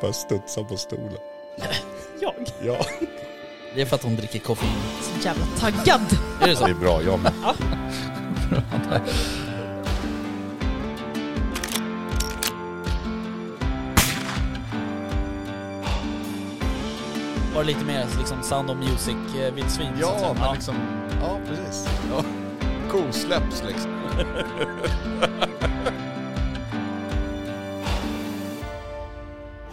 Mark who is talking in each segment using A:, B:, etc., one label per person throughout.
A: Bara studsa på stolen.
B: Jag?
A: Ja,
C: Det är för att hon dricker koffein.
B: Så jävla taggad.
C: Är det
A: det
C: så?
A: är bra. Jag med.
C: Var det lite mer liksom Sound of Music-vildsvin?
A: Ja, men liksom... Ja, precis. Ja. Kosläpps liksom.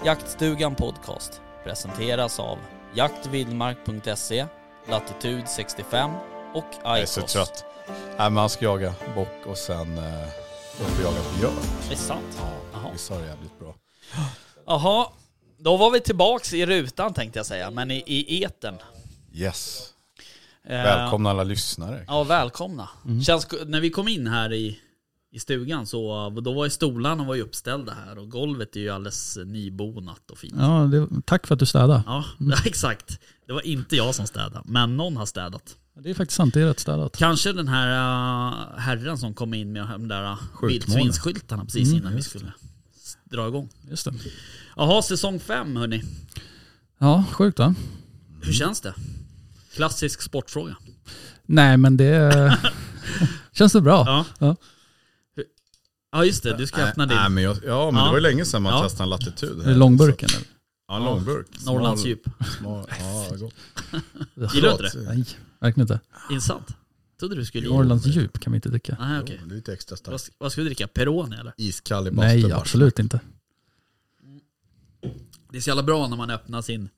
C: Jaktstugan Podcast presenteras av jaktvildmark.se, Latitude 65 och Icos.
A: Jag är så trött. Nej, men han ska jaga bock och sen... Eh, jag ska jaga björn.
C: Det är sant. Jaha.
A: Vi sa det jävligt bra.
C: Jaha, då var vi tillbaks i rutan tänkte jag säga, men i, i eten. Eh,
A: Yes. Välkomna alla lyssnare.
C: Ja, välkomna. Känns, när vi kom in här i, i stugan så då var ju stolarna var ju uppställda här och golvet är ju alldeles nybonat och fint. Ja,
D: Ja, det, tack för att du städade.
C: exakt. Det var inte jag som städade, men någon har städat.
D: Det är faktiskt sant, det är rätt städat.
C: Kanske den här äh, herren som kom in med de där uh, vildsvinsskyltarna precis innan vi skulle s- dra igång.
D: Just det.
C: Jaha, säsong fem hörni.
D: Ja, sjukt va?
C: Hur känns det? Klassisk sportfråga.
D: Nej men det... känns det bra?
C: Ja.
D: Ja.
C: Ja just det, du ska öppna
A: Nej,
C: din.
A: men jag, ja, men
C: Ja.
A: det var ju länge sedan man
C: Ja.
A: testade en latitud.
D: Är det långburken eller?
A: Ja, en långburk. Smal-
C: Norrlands djup.
A: smal- Ja, gott.
C: Gillar du inte det?
D: Nej, verkligen inte.
C: Intressant. Trodde du skulle
D: Norrlands djup kan vi inte dricka.
C: Nej, okej.
A: Jo, men det är Lite extra
C: Vad,
A: starkt.
C: ska- vad ska vi dricka? Peroni eller?
A: Iskall i bastun.
D: Nej,
A: bara.
D: absolut inte.
C: Det är så jävla bra när man öppnar sin,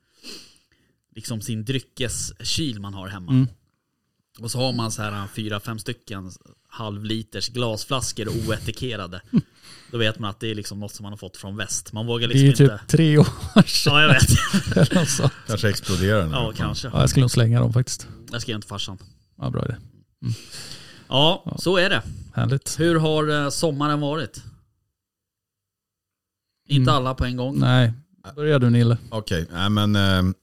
C: liksom sin dryckeskyl man har hemma.
D: Mm.
C: Och så har man så här äh, fyra, fem stycken halvliters glasflaskor oetikerade. Då vet man att det är liksom något som man har fått från väst. Man vågar
D: Det är ju
C: liksom inte...
D: typ tre år sedan.
C: Ja, jag vet.
D: alltså.
A: Kanske exploderar den. här.
C: Ja, kanske.
D: ja, jag skulle nog slänga dem faktiskt.
C: Jag skrev inte farsan.
D: Ja, bra idé.
C: Ja, så är det.
D: Härligt.
C: Hur har eh, sommaren varit? Inte alla på en gång.
D: Mm. Nej, börjar du Nille.
A: Okej, nej men eh,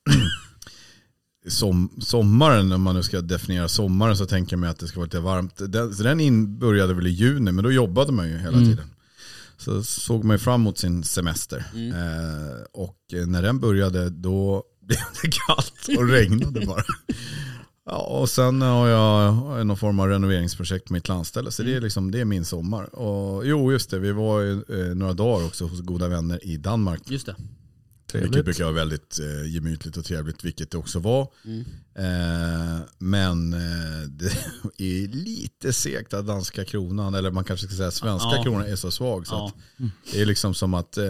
A: som, sommaren, om man nu ska definiera sommaren så tänker jag mig att det ska vara lite varmt. Den, så den in började väl i juni, men då jobbade man ju hela tiden. Så såg man ju fram emot sin semester. Eh, och när den började då blev det kallt och regnade bara. Ja, och sen har jag har jag någon form av renoveringsprojekt på mitt landställe. Så det är, liksom, det är min sommar. Och, jo, just det. Vi var ju eh, några dagar också hos goda vänner i Danmark.
C: Just det.
A: Vilket
D: Trevligt.
A: brukar vara väldigt eh, gemytligt och trevligt, vilket det också var. Eh, men eh, det är lite segt att danska kronan, eller man kanske ska säga svenska
C: Ja.
A: kronan, är så svag. Så
C: Ja.
A: att det är liksom som att eh,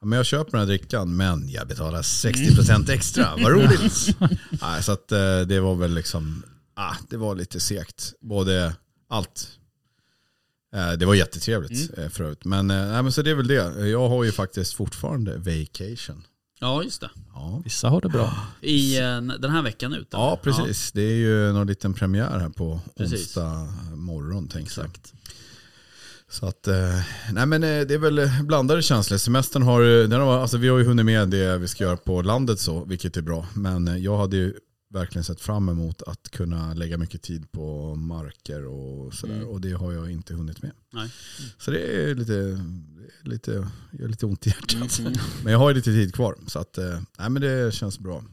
A: ja, men jag köper den här drickan, men jag betalar 60% extra. Vad roligt! Nej, så att, eh, det var väl liksom, ah, det var lite segt. Både allt. Eh, Det var jättetrevligt mm. förut. Men, eh, nej, men så det är väl det. Jag har ju faktiskt fortfarande vacation.
C: Ja, just det.
A: Ja,
D: Vissa har det bra.
C: I eh, den här veckan ut. eller?
A: ja precis. Det är ju någon liten premiär här på
C: Precis.
A: onsdag morgon. Tänker jag.
C: Exakt.
A: Så att, eh, nej men eh, det är väl blandade känslor. Semestern har, eh, den har, alltså vi har ju hunnit med det vi ska göra på landet så, vilket är bra. Men eh, jag hade ju verkligen sett fram emot att kunna lägga mycket tid på marker och sådär. Och det har jag inte hunnit med.
C: Mm. Nej.
A: Så det är lite, lite, gör lite ont i hjärtat.
C: Mm.
A: Men jag har ju lite tid kvar. Så att, eh, nej men det känns bra.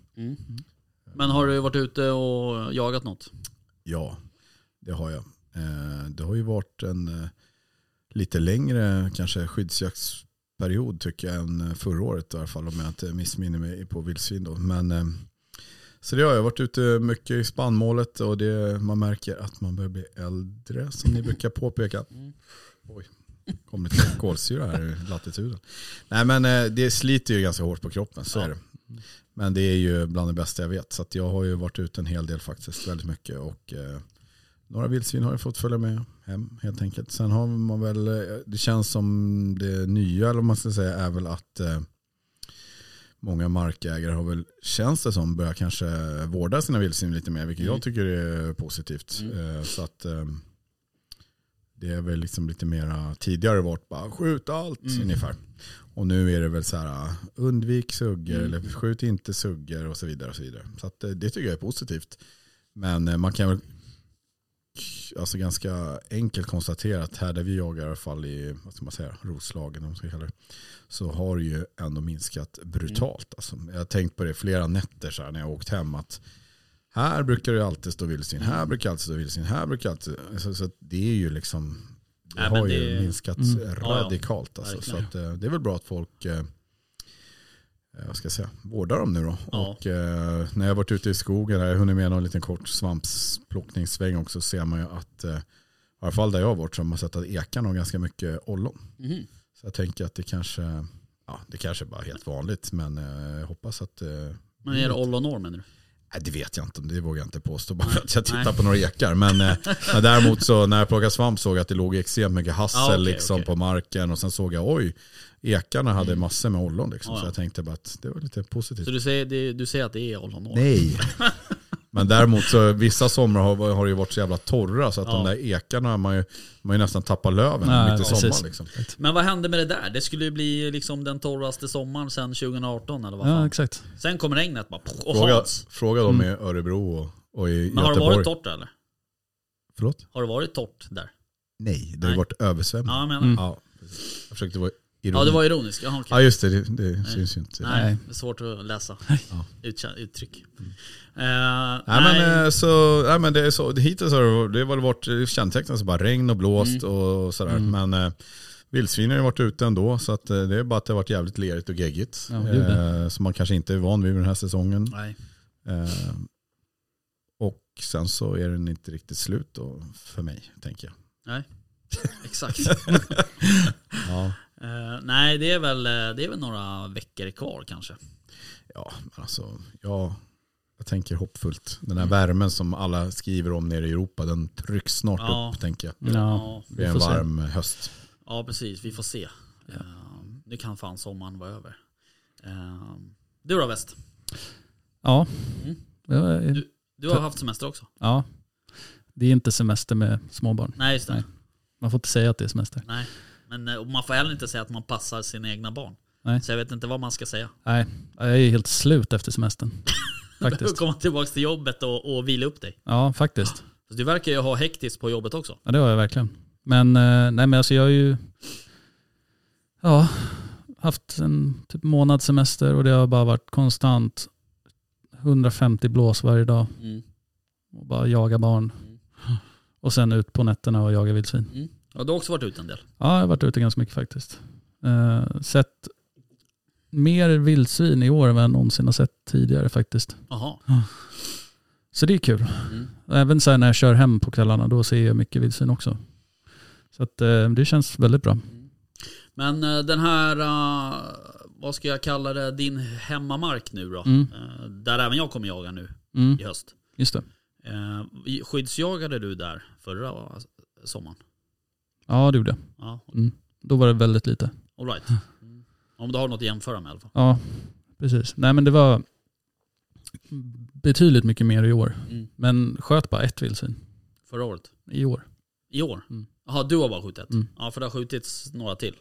C: Men har du varit ute och jagat något?
A: Ja, det har jag. Eh, Det har ju varit en eh, lite längre kanske skyddsjaktsperiod tycker jag än eh, förra året i alla fall om jag inte missminner mig på vildsvin då. Men, eh, så det har jag varit ute mycket i spannmålet och det, man märker att man börjar bli äldre som ni brukar påpeka. Oj, kom lite kolsyra här i latituden. Nej men eh, det sliter ju ganska hårt på kroppen, så är det. Men det är ju bland det bästa jag vet. Så att jag har ju varit ute en hel del faktiskt, väldigt mycket. Och eh, några vildsvin har jag fått följa med hem helt enkelt. Sen har man väl, eh, det känns som det nya, eller vad man ska säga, är väl att eh, många markägare har väl, känns det som, börjar kanske vårda sina vildsvin lite mer, vilket jag tycker är positivt. Eh, så att eh, det är väl liksom lite mera, tidigare varit bara skjut allt ungefär. Och nu är det väl så här, undvik suggor
C: Mm.
A: eller skjut inte suggor och så vidare. Och så vidare. så att, eh, det tycker jag är positivt. Men eh, man kan väl alltså ganska enkelt konstaterat här där vi jagar i alla fall i vad ska man säga, Roslagen om man ska kalla det, så har det ju ändå minskat
C: Mm.
A: brutalt. Alltså, jag har tänkt på det flera nätter så här, när jag har åkt hem att här brukar det alltid stå vildsvin, här brukar det alltid stå vildsvin, här brukar det alltid så, så att det är ju liksom det
C: Nej, men
A: har ju
C: det-
A: minskat
D: Mm.
C: ja.
A: radikalt. Alltså, så
C: Verkligen.
A: att, eh, det är väl bra att folk eh, eh, vad ska jag säga, vårdar dem nu då.
C: Ja.
A: Och, eh, när jag varit ute i skogen, här, jag har hunnit med någon liten kort svampplockningssväng också, så ser man ju att eh, i alla fall där jag har varit så har man sett att ekan har ganska mycket ollon.
C: Mhm.
A: Så jag tänker att det kanske, ja, det kanske är bara helt vanligt, men eh, jag hoppas att eh,
C: Men är det ollonår menar du?
A: Nej, det vet jag inte, det vågar jag inte påstå bara för att jag tittar
C: Nej.
A: på några ekar. Men, eh, men däremot så när jag plockade svamp såg jag att det låg extremt mycket hassel
C: Ja, okej,
A: liksom,
C: okej. Mm.
A: på marken och sen såg jag oj, ekarna hade massor med ollon liksom.
C: Ja,
A: Så
C: ja.
A: jag tänkte bara att det var lite positivt.
C: Så du säger, det, du säger att det är ollonår?
A: Nej. Men däremot så vissa somrar har, har det ju varit så jävla torra så att
C: Ja.
A: de där ekarna har man ju, man har ju nästan tappat löven
D: Nej,
A: mitt i
D: precis.
A: sommaren. Liksom.
C: Men vad hände med det där? Det skulle ju bli liksom den torraste sommaren sedan 2018 eller vad
D: Ja,
C: fan?
D: exakt.
C: Sen kom regnet bara poff, och
A: Fråga,
C: Hans. Mm.
A: fråga dem i Örebro och, och i
C: Men har det
A: Göteborg.
C: varit torrt eller?
A: Förlåt?
C: Har det varit torrt där?
A: Nej, det
C: Nej.
A: har ju varit översvämning.
C: Ja, jag menar.
D: Mm.
A: Ja, precis. jag försökte vara ironisk.
C: ja det var ironiskt. Jaha, okej.
A: Ja just det, det, det syns ju inte. Nej,
C: Nej,
D: Nej.
C: det är svårt att läsa
A: Ja.
C: Utkä- uttryck. Eh,
A: men, eh, så, nej men det är så, hittills har det- det har väl varit kännetecknat så bara regn och blåst
D: Mm.
A: och sådär. Men eh, vildsvinen har ju varit ute ändå så att, eh, det är bara att det har varit jävligt lerigt och geggigt.
D: Ja, det är
A: eh, som man kanske inte är van vid den här säsongen.
C: nej.
A: Eh, och sen så är den inte riktigt slut då, för mig tänker jag.
C: Exakt.
A: Ja,
C: Eh, nej, det är, väl, eh, det är väl några veckor kvar kanske.
A: ja men alltså jag, jag tänker hoppfullt. Den här värmen som alla skriver om nere i Europa den trycks snart
C: Ja.
A: upp tänker jag.
D: Ja.
A: Det blir en
D: får se.
A: varm höst.
C: Ja, precis. Vi får se. Eh, nu kan fan sommaren vara över. Eh, du då West?
D: Ja.
C: Mm.
D: Det var-
C: Du har haft semester också?
D: ja. Det är inte semester med småbarn.
C: Nej, just det. Nej.
D: Nej. Man får inte säga att det är semester.
C: Men eh, och man får heller inte säga att man passar sina egna barn.
D: Nej.
C: Så jag vet inte vad man ska säga.
D: Nej, jag är helt slut efter semestern.
C: Du
D: Faktiskt.
C: komma tillbaka till jobbet och, och vila upp dig.
D: Ja, faktiskt.
C: Så du verkar ju ha hektiskt på jobbet också.
D: Ja, det har jag verkligen. Men, eh, nej, men alltså jag har ju ja, haft en typ månad semester och det har bara varit konstant 150 blås varje dag och bara jaga barn.
C: Mm.
D: Och sen ut på nätterna och jaga vildsvin.
C: Ja, du har också varit ute en del.
D: Ja, jag har varit ute ganska mycket faktiskt. Eh, sett mer vildsvin i år än vad jag någonsin har sett tidigare faktiskt.
C: Jaha.
D: Så det är kul.
C: Mm.
D: Även så här när jag kör hem på kvällarna, då ser jag mycket vildsvin också. Så att, eh, det känns väldigt bra.
C: Mm. Men eh, den här, eh, vad ska jag kalla det, din hemmamark nu då?
D: Mm.
C: Eh, där även jag kommer jaga nu
D: Mm,
C: i höst.
D: just det.
C: Eh, skyddsjagade du där förra sommaren?
D: Ja, det gjorde jag.
C: Ja,
D: Då var det väldigt lite.
C: all right.
D: Mm.
C: Om du har något att jämföra med i alla fall.
D: Ja, precis. Nej men det var betydligt mycket mer i år. Men sköt bara ett vildsvin
C: Förra året?
D: i år.
C: I år?
D: Mm.
C: Jaha, du har bara skjutit?
D: Mm.
C: Ja, för det har skjutits några till?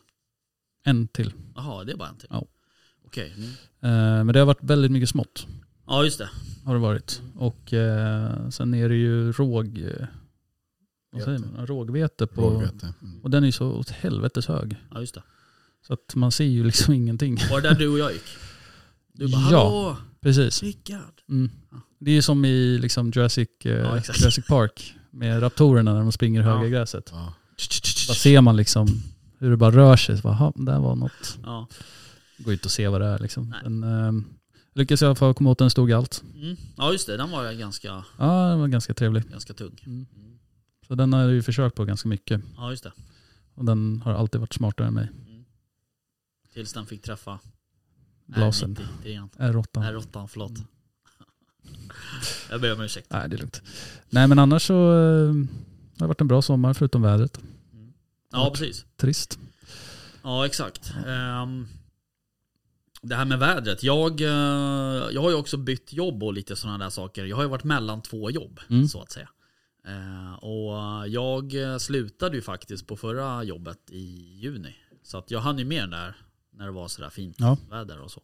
D: En till.
C: Jaha, det är bara en till?
D: Ja.
C: Okej.
D: Eh, men det har varit väldigt mycket smått.
C: Ja, just det.
D: Har det varit. Och eh, sen är det ju råg... eh, Vad säger man? Rågvete på...
A: Rågvete. Mm.
D: Och den är ju så åt helvetes hög.
C: Ja, just det.
D: Så att man ser ju liksom ingenting.
C: Var det där du och jag gick? Du bara,
D: Ja.
C: hallå,
D: Precis.
C: Rickard.
D: Mm.
C: Ja.
D: Det är ju som i liksom Jurassic, eh,
C: Ja, exakt.
D: Jurassic Park med raptorerna när de springer i
C: Ja.
D: höga gräset.
A: Ja.
D: Där ser man liksom hur det bara rör sig. Så bara, "Jaha, där var något.
C: Ja.
D: Gå ut och se vad det är liksom.
C: Nej.
D: Men, eh, lyckas i alla fall komma åt en stor galt.
C: Mm. ja, just det. Den var ganska,
D: Ja, den var ganska trevlig.
C: ganska tung.
D: Mm.
C: Mm.
D: Så den har jag ju försökt på ganska mycket.
C: Ja, just det.
D: Och den har alltid varit smartare än mig.
C: Mm. Tills den fick träffa
D: Blasen. Mm.
C: R93.
D: R8.
C: R8, förlåt. jag ber om ursäkt.
D: Nej, det är lugnt. Nej, men annars så eh, har det varit en bra sommar förutom vädret.
C: Mm. Ja, precis.
D: Trist.
C: Ja, exakt. Ehm, det här med vädret. Jag, eh, jag har ju också bytt jobb och lite sådana där saker. Jag har ju varit mellan två jobb,
D: Mm.
C: så att säga. Eh, och jag eh, slutade ju faktiskt på förra jobbet i juni. Så att jag hann ju med där när det var sådär fint
D: Ja.
C: väder och så.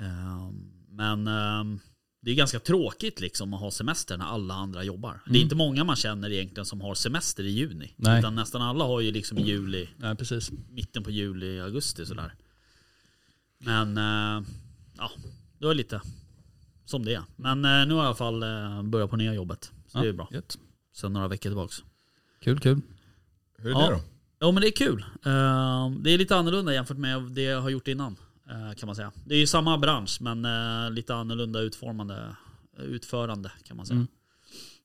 C: Ehm, men ehm, det är ganska tråkigt liksom att ha semester när alla andra jobbar. Det är inte många man känner egentligen som har semester i juni.
D: Mm. Nej.
C: Utan nästan alla har ju liksom i juli,
D: Nej, precis.
C: mitten på juli, augusti sådär. Men eh, ja, det var lite som det är. Men eh, nu har jag i alla fall eh, börjat på nya jobbet. Så det är ju bra.
D: Gött.
C: Sen några veckor tillbaks.
D: Kul, kul.
A: Hur är
C: Ja.
A: det då?
C: Ja men det är kul. Eh, Det är lite annorlunda jämfört med det jag har gjort innan. eh, Kan man säga. Det är ju samma bransch men eh, lite annorlunda utformande, utförande kan man säga.
D: Mm.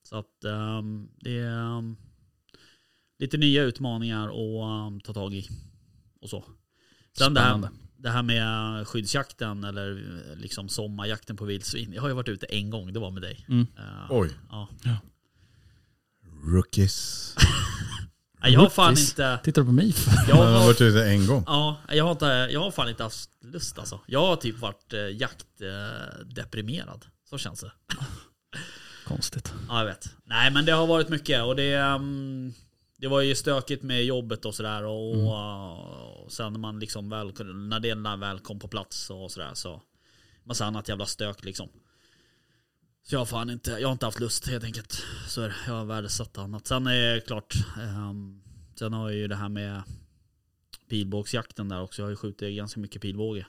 C: Så att ehm, det är ehm, lite nya utmaningar att ehm, ta tag i. Och så. Sen det här,
D: Spännande.
C: det här med skyddsjakten eller eh, liksom sommarjakten på vildsvin. Jag har ju varit ute en gång, det var med dig.
D: Mm.
C: Eh,
A: Oj,
C: Ja.
A: rookies.
C: Nej, Jag har fan
D: Rookies.
C: inte...
D: Tittar du på mig för?
C: Jag
A: Jag har
C: har
A: varit ute en gång.
C: Ja, jag har, inte, jag har fan inte haft lust alltså. Jag har typ varit eh, jaktdeprimerad. Så känns det.
D: Konstigt.
C: Ja, jag vet. Nej, men det har varit mycket och det, ehm, det var ju stökigt med jobbet och sådär. Och, och sen när man liksom väl, när det när väl kom på plats och sådär så massa annat jävla stök liksom. Så jag har fan inte, jag har inte haft lust helt enkelt. Så är det. jag har värdesatt annat. Sen är det klart, ehm, sen har jag ju det här med pilbågsjakten där också. Jag har ju skjutit ganska mycket pilbåge.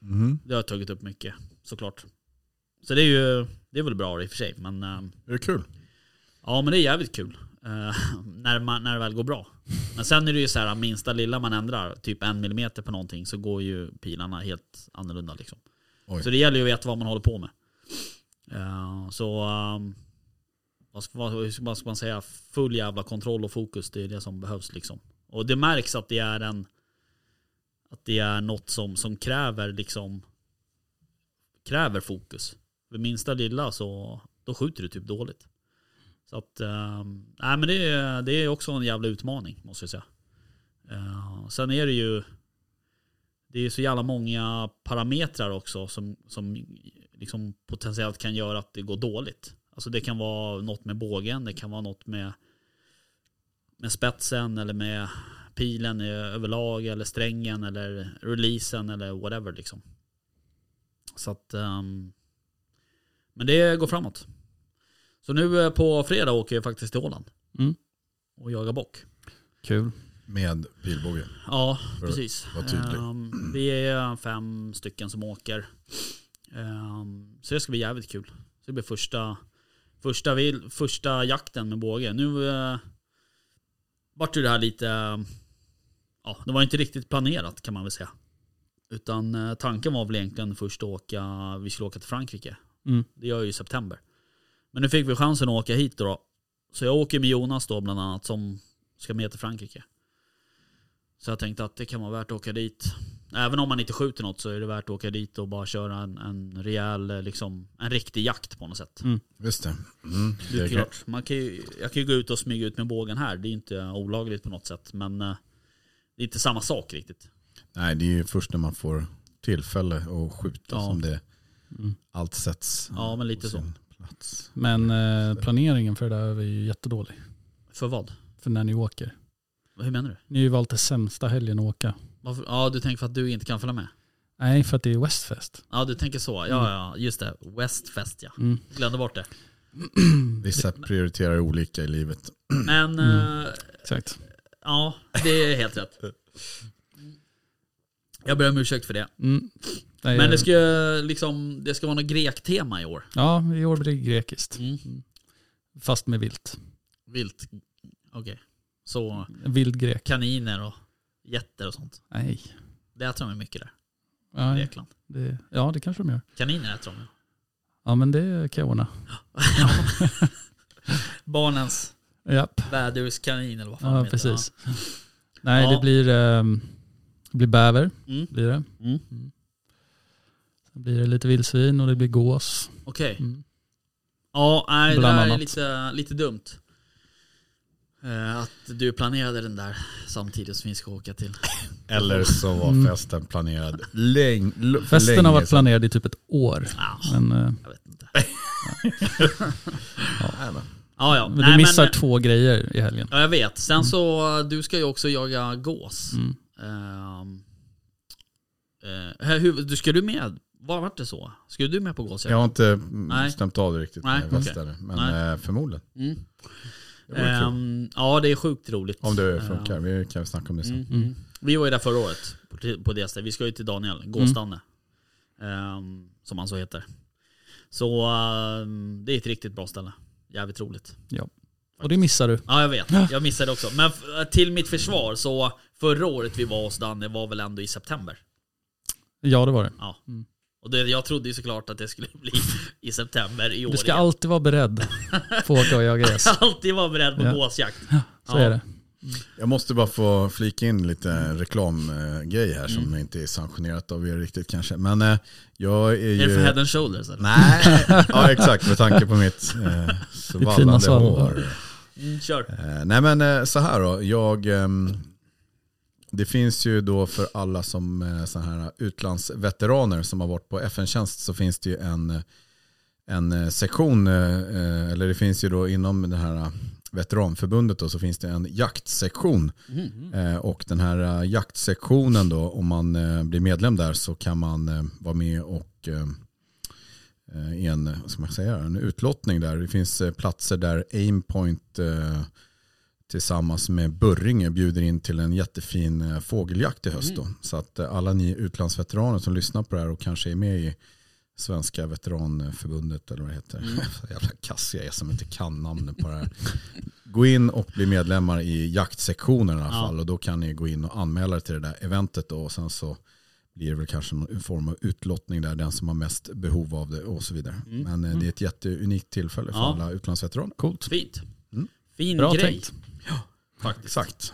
A: Mhm.
C: Det har jag tagit upp mycket såklart. Så det är ju, det är väl bra i och för sig men ehm,
A: Är det kul?
C: Ja men det är jävligt kul. Eh, när, man, när det väl går bra. Men sen är det ju så här minsta lilla man ändrar, typ en millimeter på någonting, så går ju pilarna helt annorlunda liksom.
A: Oj.
C: Så det gäller ju att veta vad man håller på med. Eh, så um, vad, ska, vad, hur ska- vad ska man säga? Full jävla kontroll och fokus, det är det som behövs liksom. Och det märks att det är en att det är något som, som kräver liksom kräver fokus. För minsta lilla så då skjuter du typ dåligt. Så att, eh, nej men det, är- det är också en jävla utmaning måste jag säga. Eh, sen är det ju, det är så jävla många parametrar också som, som liksom potentiellt kan göra att det går dåligt. Alltså det kan vara något med bågen, det kan vara något med, med spetsen eller med pilen i- överlag eller strängen eller releasen eller whatever liksom. Så att, ehm, men det går framåt. Så nu eh, på fredag åker jag faktiskt till Åland.
D: Mm.
C: Och jagar bock.
D: Kul.
A: Med pilbåge.
C: Ja,
A: För att
C: precis.
A: vara tydlig.
C: Ehm, vi är fem stycken som åker. Ehm, så det ska bli jävligt kul. Så det blir första, första, vil, första jakten med båge. Nu uh, vart ju det här lite... eh, ja, det var inte riktigt planerat kan man väl säga. Utan eh, tanken var väl egentligen först att åka, vi skulle åka till Frankrike.
D: Mm.
C: Det gör jag ju i september. Men nu fick vi chansen att åka hit då. Så jag åker med Jonas då bland annat som ska med till Frankrike. Så jag tänkte att det kan vara värt att åka dit. Även om man inte skjuter något så är det värt att åka dit och bara köra en, en rejäl, eh, liksom, en riktig jakt på något sätt.
A: Just det. Mm.
C: Det är
A: Det
C: klart. Man kan ju, jag kan ju gå ut och smyga ut med bågen här. Det är ju inte olagligt på något sätt. Men eh, det är inte samma sak riktigt.
A: Nej, det är ju först när man får tillfälle att skjuta
C: Ja.
A: som det
D: Mm.
A: allt sätts.
C: Ja, men lite
A: på
C: så.
A: sin Plats.
D: Men eh, planeringen för det där är ju jättedålig.
C: För vad?
D: För när ni åker.
C: Hur menar du?
D: Ni har ju valt det sämsta helgen att åka.
C: Varför? Ja, du tänker för att du inte kan följa med?
D: Nej, för att det är Westfest.
C: Ja, du tänker så. Ja, ja, just det. Westfest ja.
D: Mm.
C: Glömde bort det. Mm.
A: Vissa prioriterar olika i livet.
C: Men eh,
D: Exakt.
C: ja, det är helt rätt. Jag ber om ursäkt för det.
D: Mm. Nej,
C: Men
D: eh,
C: det ska, ju liksom, det ska vara något grektema i år.
D: Ja, i år blir det grekiskt.
C: Mm.
D: Fast med vilt.
C: Vilt. Okej. Så
D: Vild grek.
C: kaniner och getter och sånt.
D: Nej.
C: Det äter de ju mycket där.
D: Ja,
C: Grekland.
D: det, ja, det kanske de gör.
C: Kaniner äter de ju.
D: Ja, men det kan jag ordna.
C: Barnens
D: Japp.
C: väderhuskanin eller vad fan de
D: Ja,
C: heter.
D: precis. Nej,
C: Ja.
D: det blir, ehm, det blir bäver.
C: Ja. Mm.
D: Blir det.
C: Mm.
D: Sen blir det lite vildsvin och det blir gås.
C: Okej.
D: Mm.
C: Ja, nej, det
D: Bland
C: där är
D: annat.
C: lite, lite dumt. Eh, att du planerade den där samtidigt som vi ska åka till.
A: Eller så
D: Mm.
A: var festen planerad läng, l- för
D: Festen
A: länge
D: har varit
A: sedan.
D: planerad i typ ett år.
C: Ja,
D: Men, eh,
C: jag vet inte.
A: Nej, men.
C: Ja, ja.
D: men
C: Nej,
D: du missar Mm.
C: men- eh,
D: två grejer i helgen.
C: Ja, jag vet. Sen så, du ska ju också jaga gås.
D: Mm.
C: Ehm, eh, hur, du, ska du med? Var vart det så? Skulle du med på gåsjakt?
A: Jag har inte mm,
C: Nej.
A: stämt av det riktigt
C: Nej,
A: med väst
C: okej.
A: ännu, men
C: Nej.
A: eh, förmodligen.
C: Mm.
A: Det vore kul.
C: Ehm, ja, det är sjukt roligt.
A: Om det
C: Ehm,
A: funkar, vi kan ju snacka om det sen.
C: Mm. Mm. Vi var ju där förra året på- på det stället. Vi ska ju till Daniel,
A: Mm.
C: Gåstanne. ehm, som han så heter. Så ehm, det är ett riktigt bra ställe. Jävligt roligt.
D: Och det missar du.
C: Ja jag vet, jag missade också. Men f- till mitt försvar så förra året vi var hos Danne var väl ändå i september.
D: Ja, det var det.
C: Ja.
D: Mm.
C: Och det, jag trodde ju såklart att det skulle bli i september i år
D: Du ska
C: igen.
D: alltid vara beredd på att åka och jaga gräs.
C: alltid vara beredd på
D: Ja.
C: gåsjakt.
D: Så
C: Ja.
D: är det.
A: Jag måste bara få flika in lite reklamgrej här
C: Mm.
A: som inte är sanktionerat av er riktigt kanske. Men eh, jag är ju...
C: Är det
D: eh,
C: för head and shoulders eller?
A: Nej, ja exakt med tanke på mitt eh, svallande
D: svall.
A: hår.
C: Mm, kör.
A: Eh, nej men eh, så här då, jag, ehm, det finns ju då för alla som eh, så här utlandsveteraner som har varit på FN-tjänst så finns det ju en, eh, en eh, sektion, eh, eh, eller det finns ju då inom det här eh, veteranförbundet då, så finns det en jaktsektion. Eh, och den här eh, jaktsektionen då, om man eh, blir medlem där så kan man eh, vara med och eh, eh, i en, vad ska man säga, en utlottning där. Det finns eh, platser där Aimpoint eh, tillsammans med Burringe bjuder in till en jättefin eh, fågeljakt i höst. Då.
C: Mm.
A: Så att eh, alla ni utlandsveteraner som lyssnar på det här och kanske är med i Svenska veteranförbundet eller vad det heter.
C: Mm.
A: Så jävla kass jag är som inte kan namnet på det här. Gå in och bli medlemmar i jaktsektionen i alla
C: Ja.
A: fall och då kan ni gå in och anmäla er till det där eventet då. och sen så blir det väl kanske någon form av utlottning där, den som har mest behov av det och så vidare. Men eh, det är ett jätteunikt tillfälle för
C: Mm. Ja.
A: alla utlandsveteraner.
D: Coolt.
C: Fint. Fin
D: Mm. Bra
C: grej.
D: tänkt.
C: Faktiskt.
A: Exakt.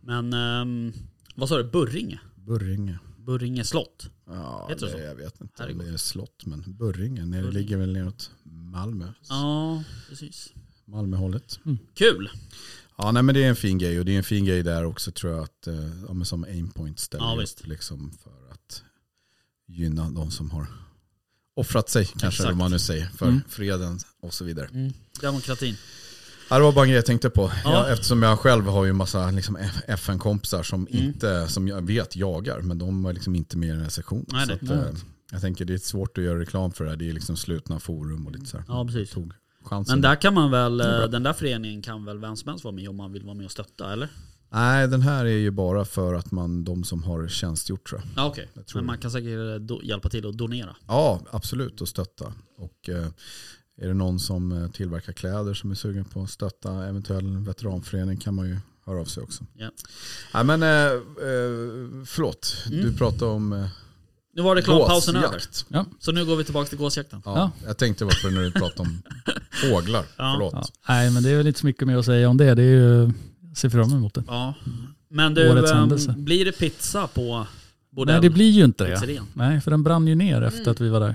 C: Men ehm, vad sa du? Burringe?
A: Burringe.
C: Burringe slott?
A: Ja,
C: Heter det
A: det,
C: så?
A: jag vet inte om
C: Herregud.
A: det är slott, men Burringe. Nere,
C: Burringe.
A: ligger väl neråt Malmö.
C: Ja, precis.
A: Malmöhållet.
C: Kul!
A: Ja, nej, men det är en fin grej och det är en fin grej där också tror jag att eh, ja, men som Aimpoint ställer
C: Ja,
A: upp
C: visst.
A: liksom för att gynna de som har offrat sig kanske
C: Exakt.
A: vad man nu säger för
D: Mm.
A: freden och så vidare.
C: Demokratin.
A: Ja, det var bara en grej jag tänkte på.
C: Ja.
A: Jag, eftersom jag själv har ju en massa liksom, F- FN-kompisar som,
C: Mm.
A: inte, som jag vet jagar, men de var liksom inte med i den här sektionen.
C: Nej,
A: så
C: det-
A: att, eh, jag tänker det är svårt att göra reklam för det här. Det är liksom slutna forum och lite så här.
C: Ja, precis.
A: Tog chansen.
C: Men där kan man väl, eh,
A: är bra.
C: den där föreningen kan väl vem som helst vara med om man vill vara med och stötta eller?
A: Nej, den här är ju bara för att man, de som har tjänstgjort tror jag.
C: Ja okej,
A: tror
C: men man kan säkert eh, do, hjälpa till och donera.
A: Ja, absolut och stötta. Och eh, är det någon som eh, tillverkar kläder som är sugen på att stötta eventuell veteranförening kan man ju höra av sig också.
C: Ja.
A: Nej, men eh, eh, förlåt,
C: Mm.
A: du pratade om eh,
C: Nu var reklampausen över,
A: Gåsjakt.
C: så nu går vi tillbaka till gåsjakten.
A: Ja, Jag tänkte bara på det när du pratade om fåglar.
C: Ja.
A: Förlåt.
D: Ja. Nej, men det är väl inte så mycket mer att säga om det. Det är ju, jag ser fram emot det.
C: Ja. Men du,
D: Årets
C: ehm,
D: händelse.
C: blir det pizza på bordell?
D: Nej, det blir ju inte det.
C: pizzerian?
D: Nej, för den brann ju ner
C: Mm.
D: efter att vi var där.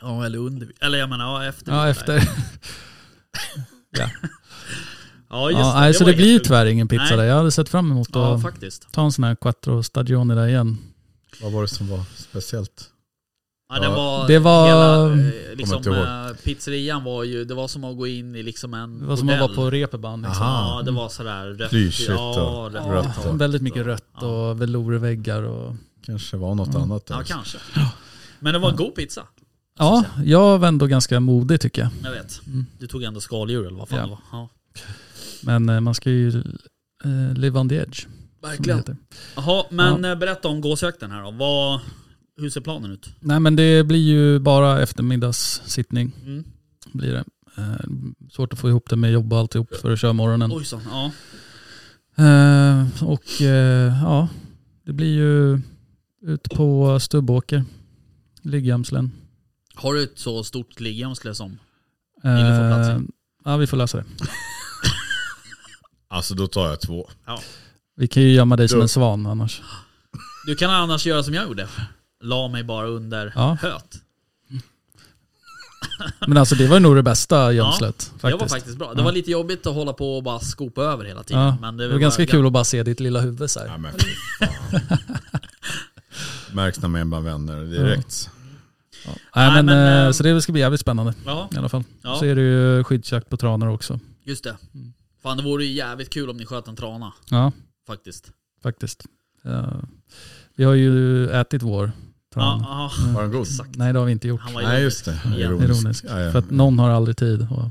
C: Ja eller under, eller jag menar ja, efter.
D: Ja, efter.
C: Ja just
D: Ja,
C: det,
D: nej, så
C: var
D: det blir ju
C: helt sjukt.
D: tyvärr ingen pizza
C: Nej.
D: där. Jag hade sett fram emot
C: Ja
D: att
C: faktiskt.
D: ta en sån här quattro stagioni där igen.
A: Vad var det som var speciellt?
C: Ja, den
A: Ja.
C: var,
D: Det var-
C: hela, eh,
A: inte
C: liksom,
A: ihåg.
C: eh, pizzerian var ju, det var som att gå in i liksom en
D: Det var som att vara
C: bordell.
D: på reerband. Liksom.
A: Aha.
C: Ja, det var sådär rött.
A: Klyschigt
C: ja,
A: och
C: rött.
A: rött
D: Ja, väldigt mycket rött och velourväggar. Och...
A: Kanske var något annat. där.
C: Ja,
D: alltså.
C: kanske. Men det var en god pizza.
D: Ja, jag var ändå ganska modig tycker jag.
C: Jag vet. Du tog ändå skaldjur eller vad fan
D: Mm. Ja.
C: det var. Ja.
D: Men eh, man ska ju eh, live on the edge. som Det heter.
C: Jaha, men eh, berätta om gåsjakten här då. Vad, hur ser planen ut?
D: Nej men det blir ju bara eftermiddagssittning.
C: Mm.
D: Blir det. Eh, svårt att få ihop det med jobb och alltihop för att köra morgonen.
C: Ojsan, ja.
D: Eh, och eh, ja, det blir ju ut på Stubbåker, Liggamslen.
C: Har du ett så stort ligghamnsle som? Vill du få plats i?
D: Eh, ja, vi får lösa det.
A: Alltså då tar jag två.
D: Vi kan ju gömma dig som
A: Du.
D: en svan annars.
C: Du kan annars göra som jag gjorde. La mig bara under
D: Ja.
C: höet.
D: Men alltså det var nog det bästa gömslet.
C: Det
D: faktiskt.
C: var faktiskt bra. Det var lite jobbigt att hålla på och bara skopa över hela tiden.
D: ja.
C: Men
D: det,
C: det,
D: var ganska kul att bara se ditt lilla huvud så
A: Ja,
D: här.
A: men fy fan. Märks när man är bland vänner direkt.
D: Nej,
C: Nej,
D: men,
C: men,
D: eh,
C: eh,
D: så det ska bli jävligt spännande
C: Ja,
D: i alla fall.
C: Ja.
D: Så är det ju skyddsjakt på tranor också.
C: just det. Fan det vore ju jävligt kul om ni sköt en trana
D: Ja,
C: faktiskt.
D: faktiskt. Eh, vi har ju ätit vår Fan.
C: Ja,
A: Var den god?
C: exakt.
D: Nej det har vi inte gjort.
C: Han var
A: Nej just det.
C: Ja.
A: Ironisk.
D: Ironiskt.
A: Ja, ja.
D: För att någon har aldrig tid och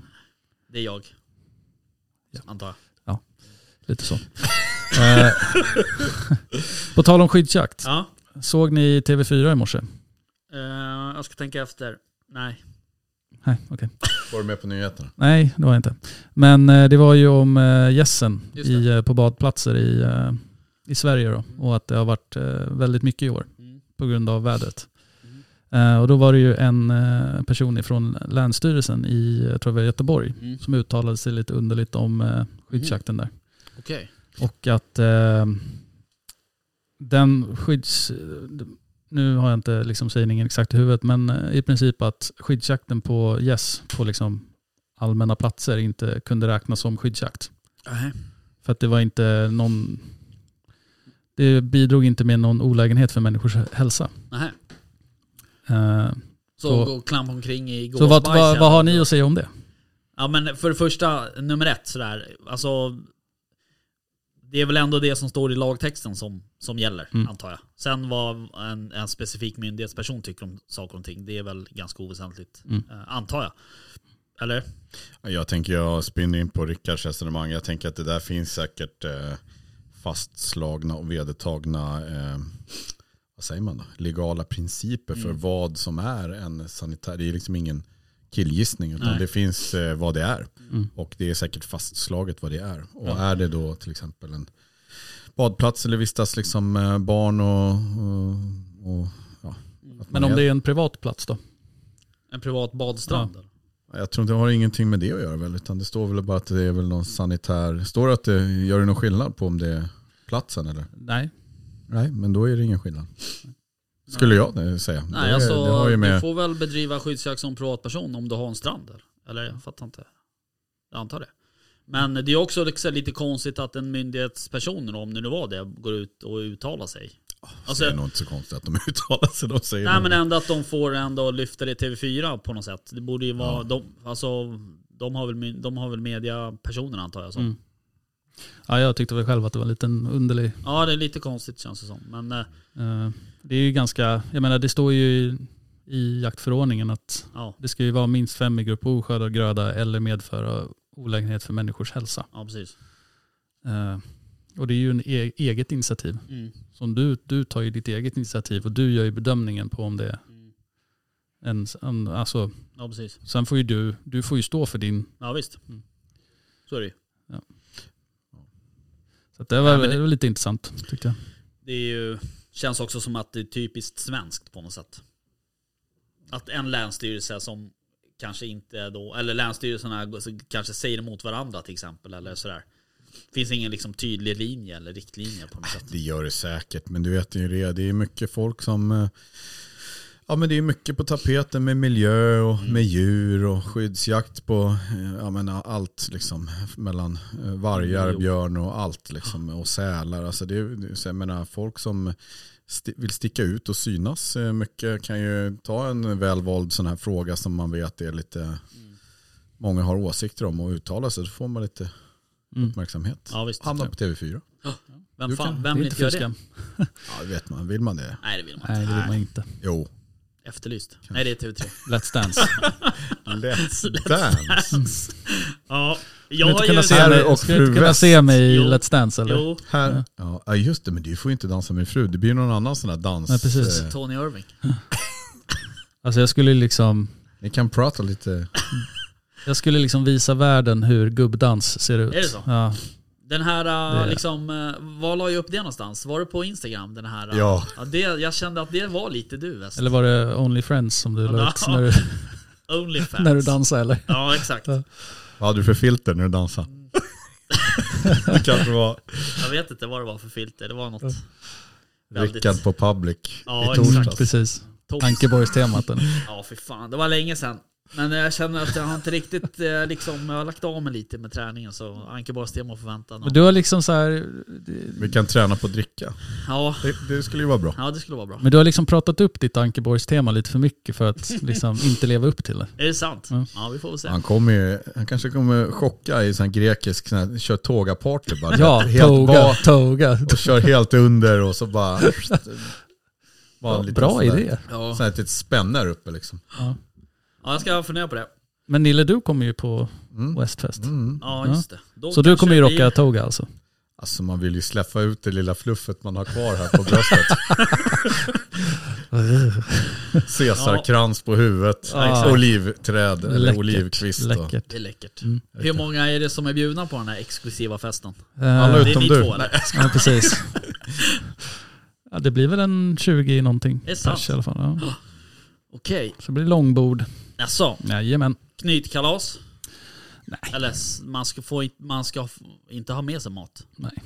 C: Det är jag.
D: Ja.
C: Antar jag.
D: lite så. Eh, På tal om skyddsjakt.
C: Ja.
D: Såg ni TV4 i morse?
C: Eh, jag ska tänka efter. Nej.
D: Nej, okej.
A: Var du med på nyheterna?
D: Nej, det var jag inte. Men eh, det var ju om eh, gässen
C: Just
D: i, eh, på badplatser i, eh, i Sverige då. Och att det har varit eh, väldigt mycket i år
C: Mm.
D: på grund av vädret.
C: Mm.
D: Eh, och då var det ju en eh, person ifrån Länsstyrelsen i, jag tror det var Göteborg,
C: Mm.
D: som uttalade sig lite underligt om eh, skyddsjakten där.
C: Okej.
D: Och att eh, den skydds... Nu har jag inte liksom sägningen exakt i huvudet, men eh, i princip att skyddsjakten på gäss på liksom allmänna platser inte kunde räknas som skyddsjakt. För att det var inte någon... Det bidrog inte med någon olägenhet för människors hälsa.
C: Nähä.
D: Eh,
C: Så,
D: Så-
C: gå och klampa omkring i
D: så vad,
C: gåsbajs
D: vad,
C: här.
D: vad har ni att säga om det?
C: Ja men för det första, nummer ett sådär. Alltså, det är väl ändå det som står i lagtexten som, som gäller,
D: Mm.
C: antar jag. Sen vad en, en specifik myndighetsperson tycker om saker och ting, det är väl ganska oväsentligt,
D: Mm.
C: eh, antar jag. Eller?
A: Jag tänker jag spinner in på Rickards resonemang. Jag tänker att det där finns säkert eh, fastslagna och vedertagna eh, vad säger man då? legala principer för
C: Mm.
A: vad som är en sanitär. Det är liksom ingen killgissning utan
C: Nej.
A: det finns eh, vad det är.
D: Mm.
A: Och det är säkert fastslaget vad det är. Och
C: Ja.
A: är det då till exempel en badplats eller vistas liksom eh, barn och, och, och ja. att man
D: Men om det är en privat plats då?
C: En privat badstrand? eller?
A: Jag tror inte det har ingenting med det att göra väl, utan det står väl bara att det är väl någon sanitär... Står det att det gör det någon skillnad på om det är platsen eller?
D: Nej.
A: Nej, men då är det ingen skillnad. Skulle jag eh, säga.
C: Nej,
A: det,
C: alltså
A: det har ju
C: du
A: med...
C: får väl bedriva skyddsjakt som privatperson om du har en strand där. Eller jag fattar inte. Jag antar det. Men det är också liksom lite konstigt att en myndighetsperson, om det nu var det, går ut och uttalar sig. Alltså,
A: det är nog inte så konstigt att de uttalar sig. De säger
C: nej
A: det.
C: men ändå att de får ändå lyfta det i TV4 på något sätt. Det borde ju vara,
A: Ja.
C: de, alltså, de har väl, my- de har väl mediapersoner antar jag. Så.
D: Mm. Ja, jag tyckte väl själv att det var en liten underlig
C: Ja det är lite konstigt känns det som. Men eh,
D: Eh, Det är ju ganska, jag menar det står ju i, i jaktförordningen att
C: ja,
D: det ska ju vara minst fem i grupp O, skördad gröda eller medföra olägenhet för människors hälsa.
C: ja precis.
D: Eh, Och det är ju en e- eget initiativ.
C: Mm.
D: Som du, du tar ju ditt eget initiativ och du gör ju bedömningen på om det är
C: Mm.
D: en, en alltså,
C: Ja precis.
D: sen får ju du, du får ju stå för din,
C: Ja visst.
D: Mm.
C: Så är det ju.
D: så att det var,
C: Ja, men det-
D: det var lite intressant tyckte jag.
C: Det är ju, känns också som att det är typiskt svenskt på något sätt. Att en länsstyrelse som kanske inte då, eller länsstyrelserna går- så kanske säger emot varandra till exempel eller sådär. Finns ingen liksom tydlig linje eller riktlinje på något sätt.
A: Det gör det säkert, men du vet ju det. Det är mycket folk som... eh, Ja men det är mycket på tapeten med miljö och
C: Mm.
A: med djur och skyddsjakt på eh, ja, men allt liksom mellan eh, vargar,
C: Mm, Jo.
A: björn och allt liksom och sälar. Alltså det, är- så jag menar folk som sti- vill sticka ut och synas eh, mycket kan ju ta en välvald sån här fråga som man vet är
C: Mm.
A: lite många har åsikter om och uttalar sig. Då får man lite
D: Mm.
A: uppmärksamhet.
C: Ja visst.
A: Hamnar på TV4.
C: Vem,
A: Du
C: fan, vem
A: kan-
D: det är
C: vill inte göra det?
D: skam.
A: Ja det vet man, vill man det?
C: Nej det vill man inte.
D: Nej det vill man inte.
A: Jo.
C: Efterlyst. Nej det är TV3.
D: Let's dance.
A: Let's dance.
C: Ja, jag
D: Skulle du
C: har
D: inte
C: ju...
D: kunna se
A: Herr
D: mig,
A: och
D: skulle du
A: fru
D: inte kunna
A: West.
D: se mig i
C: Jo.
D: Let's dance eller?
C: Jo,
A: Här. Ja. ja just det, men du får ju inte dansa med din fru. Det blir ju någon annan sån där dans.
D: Nej, precis.
A: Eh,
C: Tony Irving.
D: Alltså jag skulle liksom,
A: Ni kan prata lite.
D: jag skulle liksom visa världen hur gubbdans ser ut.
C: Är det så?
D: Ja.
C: Den här,
D: Det
C: äh,
D: är-
C: liksom, äh, var la jag upp det någonstans? Var det på Instagram? Den här, äh,
A: Ja.
C: Ja, det, jag kände att det var lite du West.
D: Eller var det Only Friends som du la ut
C: Ja.
D: när du,
C: Onlyfans.
D: när du dansade eller?
C: Ja, exakt.
D: Ja.
A: Vad hade du för filter när du dansade?
C: Mm.
A: det kanske var
C: Jag vet inte vad det var för filter. Det var något väldigt...
A: Rickard på Public
C: Ja,
A: i torsdags.
C: exakt.
D: Precis,
C: tops.
D: Ankeborgstemat. den.
C: Ja, för fan. Det var länge sedan. Men jag känner att jag har inte riktigt eh, liksom, jag har lagt av mig lite med träningen så Ankeborgsten var förväntan.
D: Men du har liksom så här,
A: Vi kan träna på att dricka.
C: Ja,
A: Det, det skulle ju vara bra.
C: ja, det skulle vara bra.
D: men du har liksom pratat upp ditt Ankeborgstema lite för mycket för att liksom inte leva upp till det.
C: Är det sant?
D: Ja.
C: Ja, vi får väl se.
A: Han, kommer ju, han kanske kommer chocka i sån här grekisk, sån här, kör tåga-party bara.
D: Ja,
A: helt
D: toga,
A: bak
D: toga.
A: och kör helt under och så bara en
D: Vad
A: liten
D: bra
A: sån där-
D: idé.
C: Ja.
A: Sån här litet spänne här uppe liksom.
D: Ja.
C: ja, jag ska fundera på det.
D: Men Nille, du kommer ju på
A: Mm.
D: Westfest.
A: Mm.
C: Ja,
D: Ja.
C: just det. Då
D: Så du
C: kanske
D: kommer ju
C: det
D: rocka
C: blir-
D: tåg alltså?
A: Alltså man vill ju släppa ut det lilla fluffet man har kvar här på bröstet. Caesarkrans på huvudet,
D: Ja, exakt.
A: olivträd eller
D: Läckert.
A: olivkvist. och-
D: Läckert.
C: Det är läckert.
D: Mm.
C: Hur många är det som är bjudna på den här exklusiva festen?
A: Alla
D: Eh,
C: ut-
A: utom
C: ni
A: du.
C: två, eller?
A: Nej,
D: ja, precis. Ja, det blir väl en 20 någonting.
C: Det är sant.
D: pers i alla fall. Ja.
C: Okej, okay.
D: Så det blir långbord.
C: alltså
D: Jajamän.
C: knytkalas?
D: Nej.
C: Eller s- man ska, få, in- man ska f- inte ha med sig mat.
D: Nej.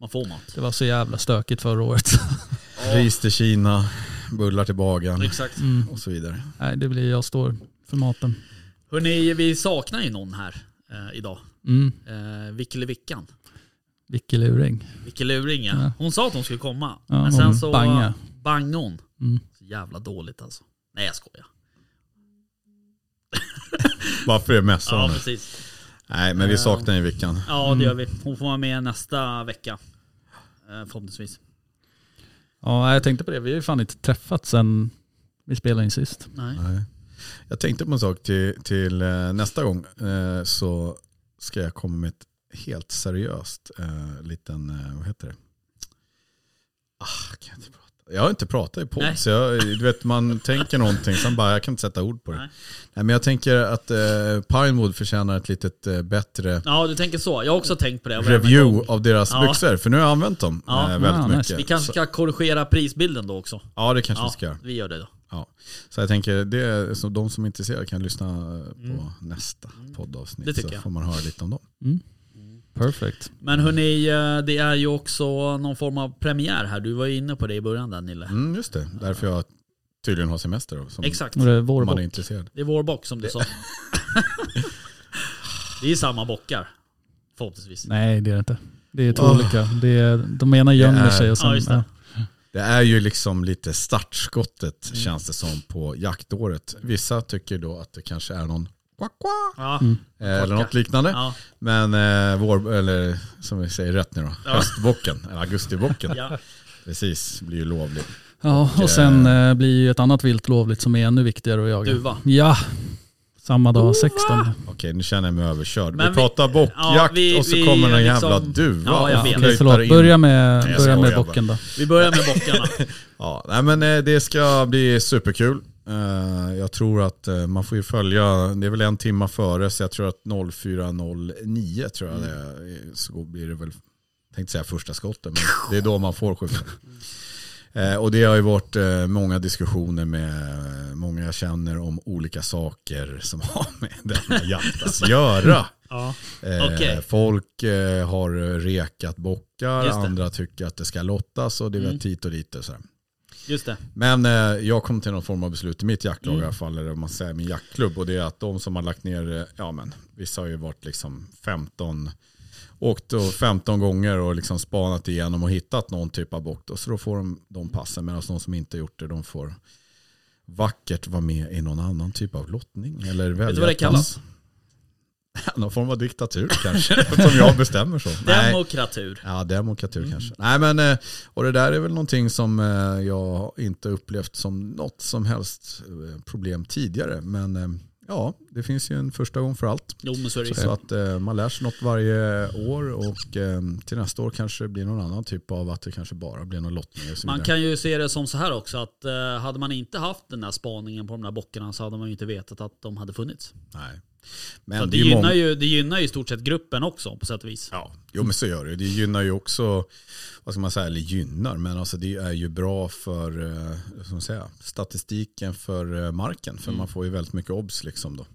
C: Man får mat.
D: Det var så jävla stökigt förra året.
A: Ris till Kina, bullar till bagaren
C: Exakt.
D: Mm.
A: och så vidare.
D: Nej, det blir jag står för maten.
C: Hörrni, vi saknar ju någon här eh, idag.
D: Mm.
C: Eh, Vickelivickan.
D: Vickeluring.
C: Vickeluring ja.
D: Ja.
C: Hon sa att hon skulle komma.
D: Ja,
C: men
D: hon
C: sen så
D: bangade.
C: bangade hon.
D: Mm.
C: Så jävla dåligt alltså. Nej jag skojar.
A: Varför är mässan
C: Ja
A: nu?
C: precis.
A: Nej men vi saknar ju Vickan.
C: Ja det gör vi. Hon får vara med nästa vecka. Eh, förhoppningsvis.
D: Ja, jag tänkte på det. Vi har ju fan inte träffats sen vi spelade in sist.
C: Nej.
A: Nej. Jag tänkte på en sak till, till eh, nästa gång eh, så ska jag komma med ett helt seriöst eh, liten, eh, vad heter det? Ah, kan jag, inte prata. jag har inte pratat i
C: Nej.
A: podd så jag, du vet man tänker någonting sen bara jag kan inte sätta ord på det.
C: Nej.
A: Nej. men jag tänker att eh, Pinewood förtjänar ett litet eh, bättre
C: Ja du tänker så. Jag har också tänkt på det. varenda gång.
A: review av deras
C: Ja.
A: byxor för nu har jag använt dem
C: Ja.
A: eh, väldigt
D: Ah, nice.
A: mycket.
C: Vi kanske
A: så,
C: ska korrigera prisbilden då också.
A: ja det kanske vi
C: Ja,
A: ska göra.
C: vi gör det då.
A: Ja. Så jag tänker, det är, så de som är intresserade kan lyssna eh, på nästa poddavsnitt.
C: Mm. Det tycker
A: så
C: jag.
A: får man höra lite om dem.
D: Perfect.
C: Men hörni, eh, det är ju också någon form av premiär här. Du var ju inne på det i början där Nille.
A: Mm, just det, därför jag tydligen har semester. Då, som
C: Exakt.
D: Och det är
A: Om
D: vår
A: man är
D: bock.
A: intresserad.
C: Det är vår bock som du sa. det är samma bockar. Förhoppningsvis.
D: Nej, det är det inte. Det är två
A: Oh.
D: olika. Det är, de ena gömmer
A: Det är-
D: sig och sen...
C: Ja, just det.
A: Det är ju liksom lite startskottet
C: Mm.
A: känns det som på jaktåret. Vissa tycker då att det kanske är någon quack, quack,
C: Ja.
A: eh, eller något liknande.
C: Ja.
A: Men eh, vår, eller som vi säger rätt nu då,
C: Ja.
A: höstbocken, eller augustibocken.
C: Ja.
A: Precis, blir ju lovlig.
D: Ja, och sen eh, blir ju ett annat vilt lovligt som är ännu viktigare att jaga.
C: Duva.
D: Ja, samma dag 16.
A: Okej, nu känner jag mig överkörd.
C: Men
A: vi
C: vi-
A: pratar bockjakt
C: ja, vi-
A: och så
C: vi
A: kommer någon
C: liksom-
A: jävla duva
C: Ja, jag
A: och
C: vet.
D: Okej,
A: flöjtar
D: förlåt.
A: in.
D: Börja med,
A: jag
D: börja med
A: skojar
D: bocken då.
C: Vi börjar med bockarna.
A: Ja, nej, men eh, det ska bli superkul. Eh, jag tror att eh, man får ju följa, det är väl en timma före, så jag tror att 04.09 tror jag det är, så blir det väl, tänkte säga första skottet, men det är då man får skjuta. Eh, och det har ju varit eh, många diskussioner med eh, många jag känner om olika saker som har med denna jakt att göra.
C: Ja.
A: Eh,
C: Okej.
A: Folk eh, har rekat bockar,
C: Just det.
A: andra tycker att det ska lottas och det är
C: Mm.
A: väl hit och dit. Och sådär.
C: Just det.
A: Men eh, jag kom till någon form av beslut i mitt jaktlag
C: Mm.
A: i alla fall, eller om man säger min jaktklubb, och det är att de som har lagt ner, eh, ja men vissa har ju varit liksom 15, åkt och 15 gånger och liksom spanat igenom och hittat någon typ av bock, då, så då får de, de passen, medan de som inte gjort det, de får vackert vara med i någon annan typ av lottning eller välja
C: Vet du vad det
A: ett pass.
C: kallas?
A: Någon form av diktatur kanske, som jag bestämmer så. Nej.
C: Demokratur.
A: Ja, demokratur
C: Mm.
A: kanske. Nej, men, eh, och det där är väl någonting som eh, jag inte upplevt som något som helst eh, problem tidigare. Men eh, ja, det finns ju en första gång för allt.
C: Jo men så är det ju.
A: Så att eh, man lär sig något varje år och eh, till nästa år kanske det blir någon annan typ av att det kanske bara blir någon lottning och så
C: Man
A: vidare.
C: kan ju se det som så här också att eh, hade man inte haft den där spaningen på de där bockarna så hade man ju inte vetat att de hade funnits.
A: Nej.
C: Så
A: Men
C: att
A: det
C: det,
A: är ju
C: gynnar
A: många...
C: ju, det gynnar ju i stort sett gruppen också på sätt och vis.
A: Ja, jo men så gör det. Det gynnar ju också, vad ska man säga, eller gynnar, men alltså det är ju bra för eh, vad ska man säga, statistiken för eh, marken. För
C: Mm.
A: man får ju väldigt mycket obs liksom då.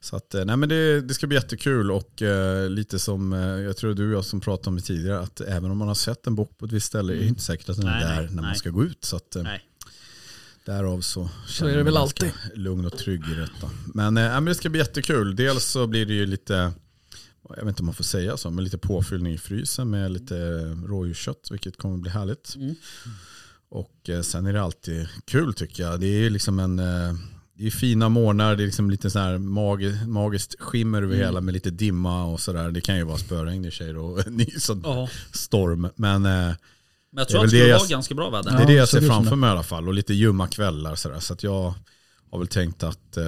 A: Så att, eh, nej men det, det ska bli jättekul och eh, lite som eh, jag tror du och jag som pratade om det tidigare, att även om man har sett en bock på ett visst ställe är det inte säkert att den
C: Mm. Nej,
A: är där
C: nej,
A: när man
C: nej.
A: ska gå ut. Så att, eh,
C: Nej.
A: Därav så känner
D: är det
A: jag mig
D: väl
A: ganska lugn och trygg i detta. Men, eh, ja, men det ska bli jättekul. Dels så blir det ju lite, jag vet inte om man får säga så, men lite påfyllning i frysen med lite rådjurskött, vilket kommer bli härligt.
C: Mm.
A: Och eh, sen är det alltid kul tycker jag. Det är ju liksom en, eh, det är fina morgnar, det är liksom lite så här mag, magiskt skimmer över hela med lite dimma och sådär. Det kan ju vara spöregn i och för sig då, och en ny sån
C: Ja.
A: storm. Men eh,
C: Men jag
A: Det är
C: tror
A: väl
C: att det skulle
A: det jag-
C: vara ganska bra väder.
A: Det är det jag ser
D: absolut.
A: framför mig i alla fall och lite ljumma kvällar. Så, så att jag har väl tänkt att eh,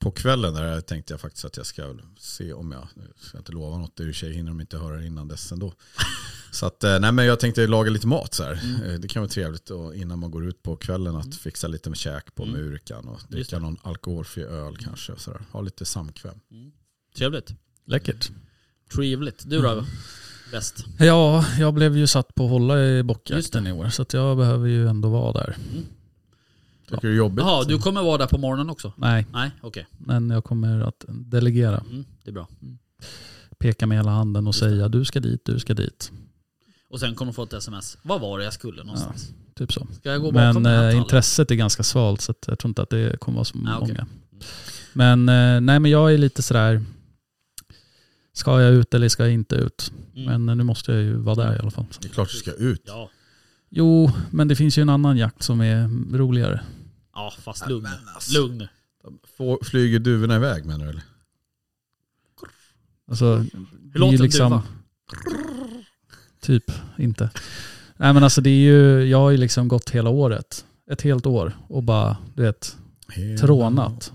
A: på kvällen där tänkte jag faktiskt att jag ska väl se om jag, nu ska jag inte lova något, det är ju tjej hinner de inte höra det innan dess ändå. Så att, eh, nej men jag tänkte laga lite mat så här.
C: Mm.
A: Eh, Det kan vara trevligt och innan man går ut på kvällen att fixa lite med käk på
C: Mm.
A: murkan och dricka
C: det.
A: någon alkoholfri öl kanske. och Så där. Ha lite samkväm.
C: Trevligt.
D: Läckert.
C: Trevligt. Du då?
D: Mm.
C: Bäst.
D: Ja, jag blev ju satt på att hålla i
C: Just
D: bockjakten
C: det.
D: i år så att jag behöver ju ändå vara där.
A: Tycker du det är jobbigt?
C: Jaha, du kommer vara där på morgonen också?
D: Nej,
C: Nej, okej.
D: men jag kommer att delegera.
C: Mm, det är bra.
D: Peka med hela handen och säga du ska dit, du ska dit.
C: Och sen kommer du få ett sms. Vad var det jag skulle någonstans?
D: Typ så.
C: Ska jag gå bakom
D: Men
C: den här
D: eh,
C: tallen?
D: intresset är ganska svalt så att jag tror inte att det kommer vara så
C: Ah, okej.
D: många. Men, eh, nej, men jag är lite sådär, ska jag ut eller ska jag inte ut?
C: Mm.
D: Men eh, nu måste jag ju vara där i alla fall.
A: Det är klart du ska ut.
C: Ja,
D: Jo, men det finns ju en annan jakt som är roligare.
C: ja fast lugn.
A: Men alltså,
C: Lugn.
A: Få, flyger duvorna iväg menar du? eller?
D: Alltså,
C: Hur
D: det är ju
C: låter liksom... du?
D: Typ, inte. Nej men alltså det är ju, jag har ju liksom gått hela året. Ett helt år och bara, du vet, trånat.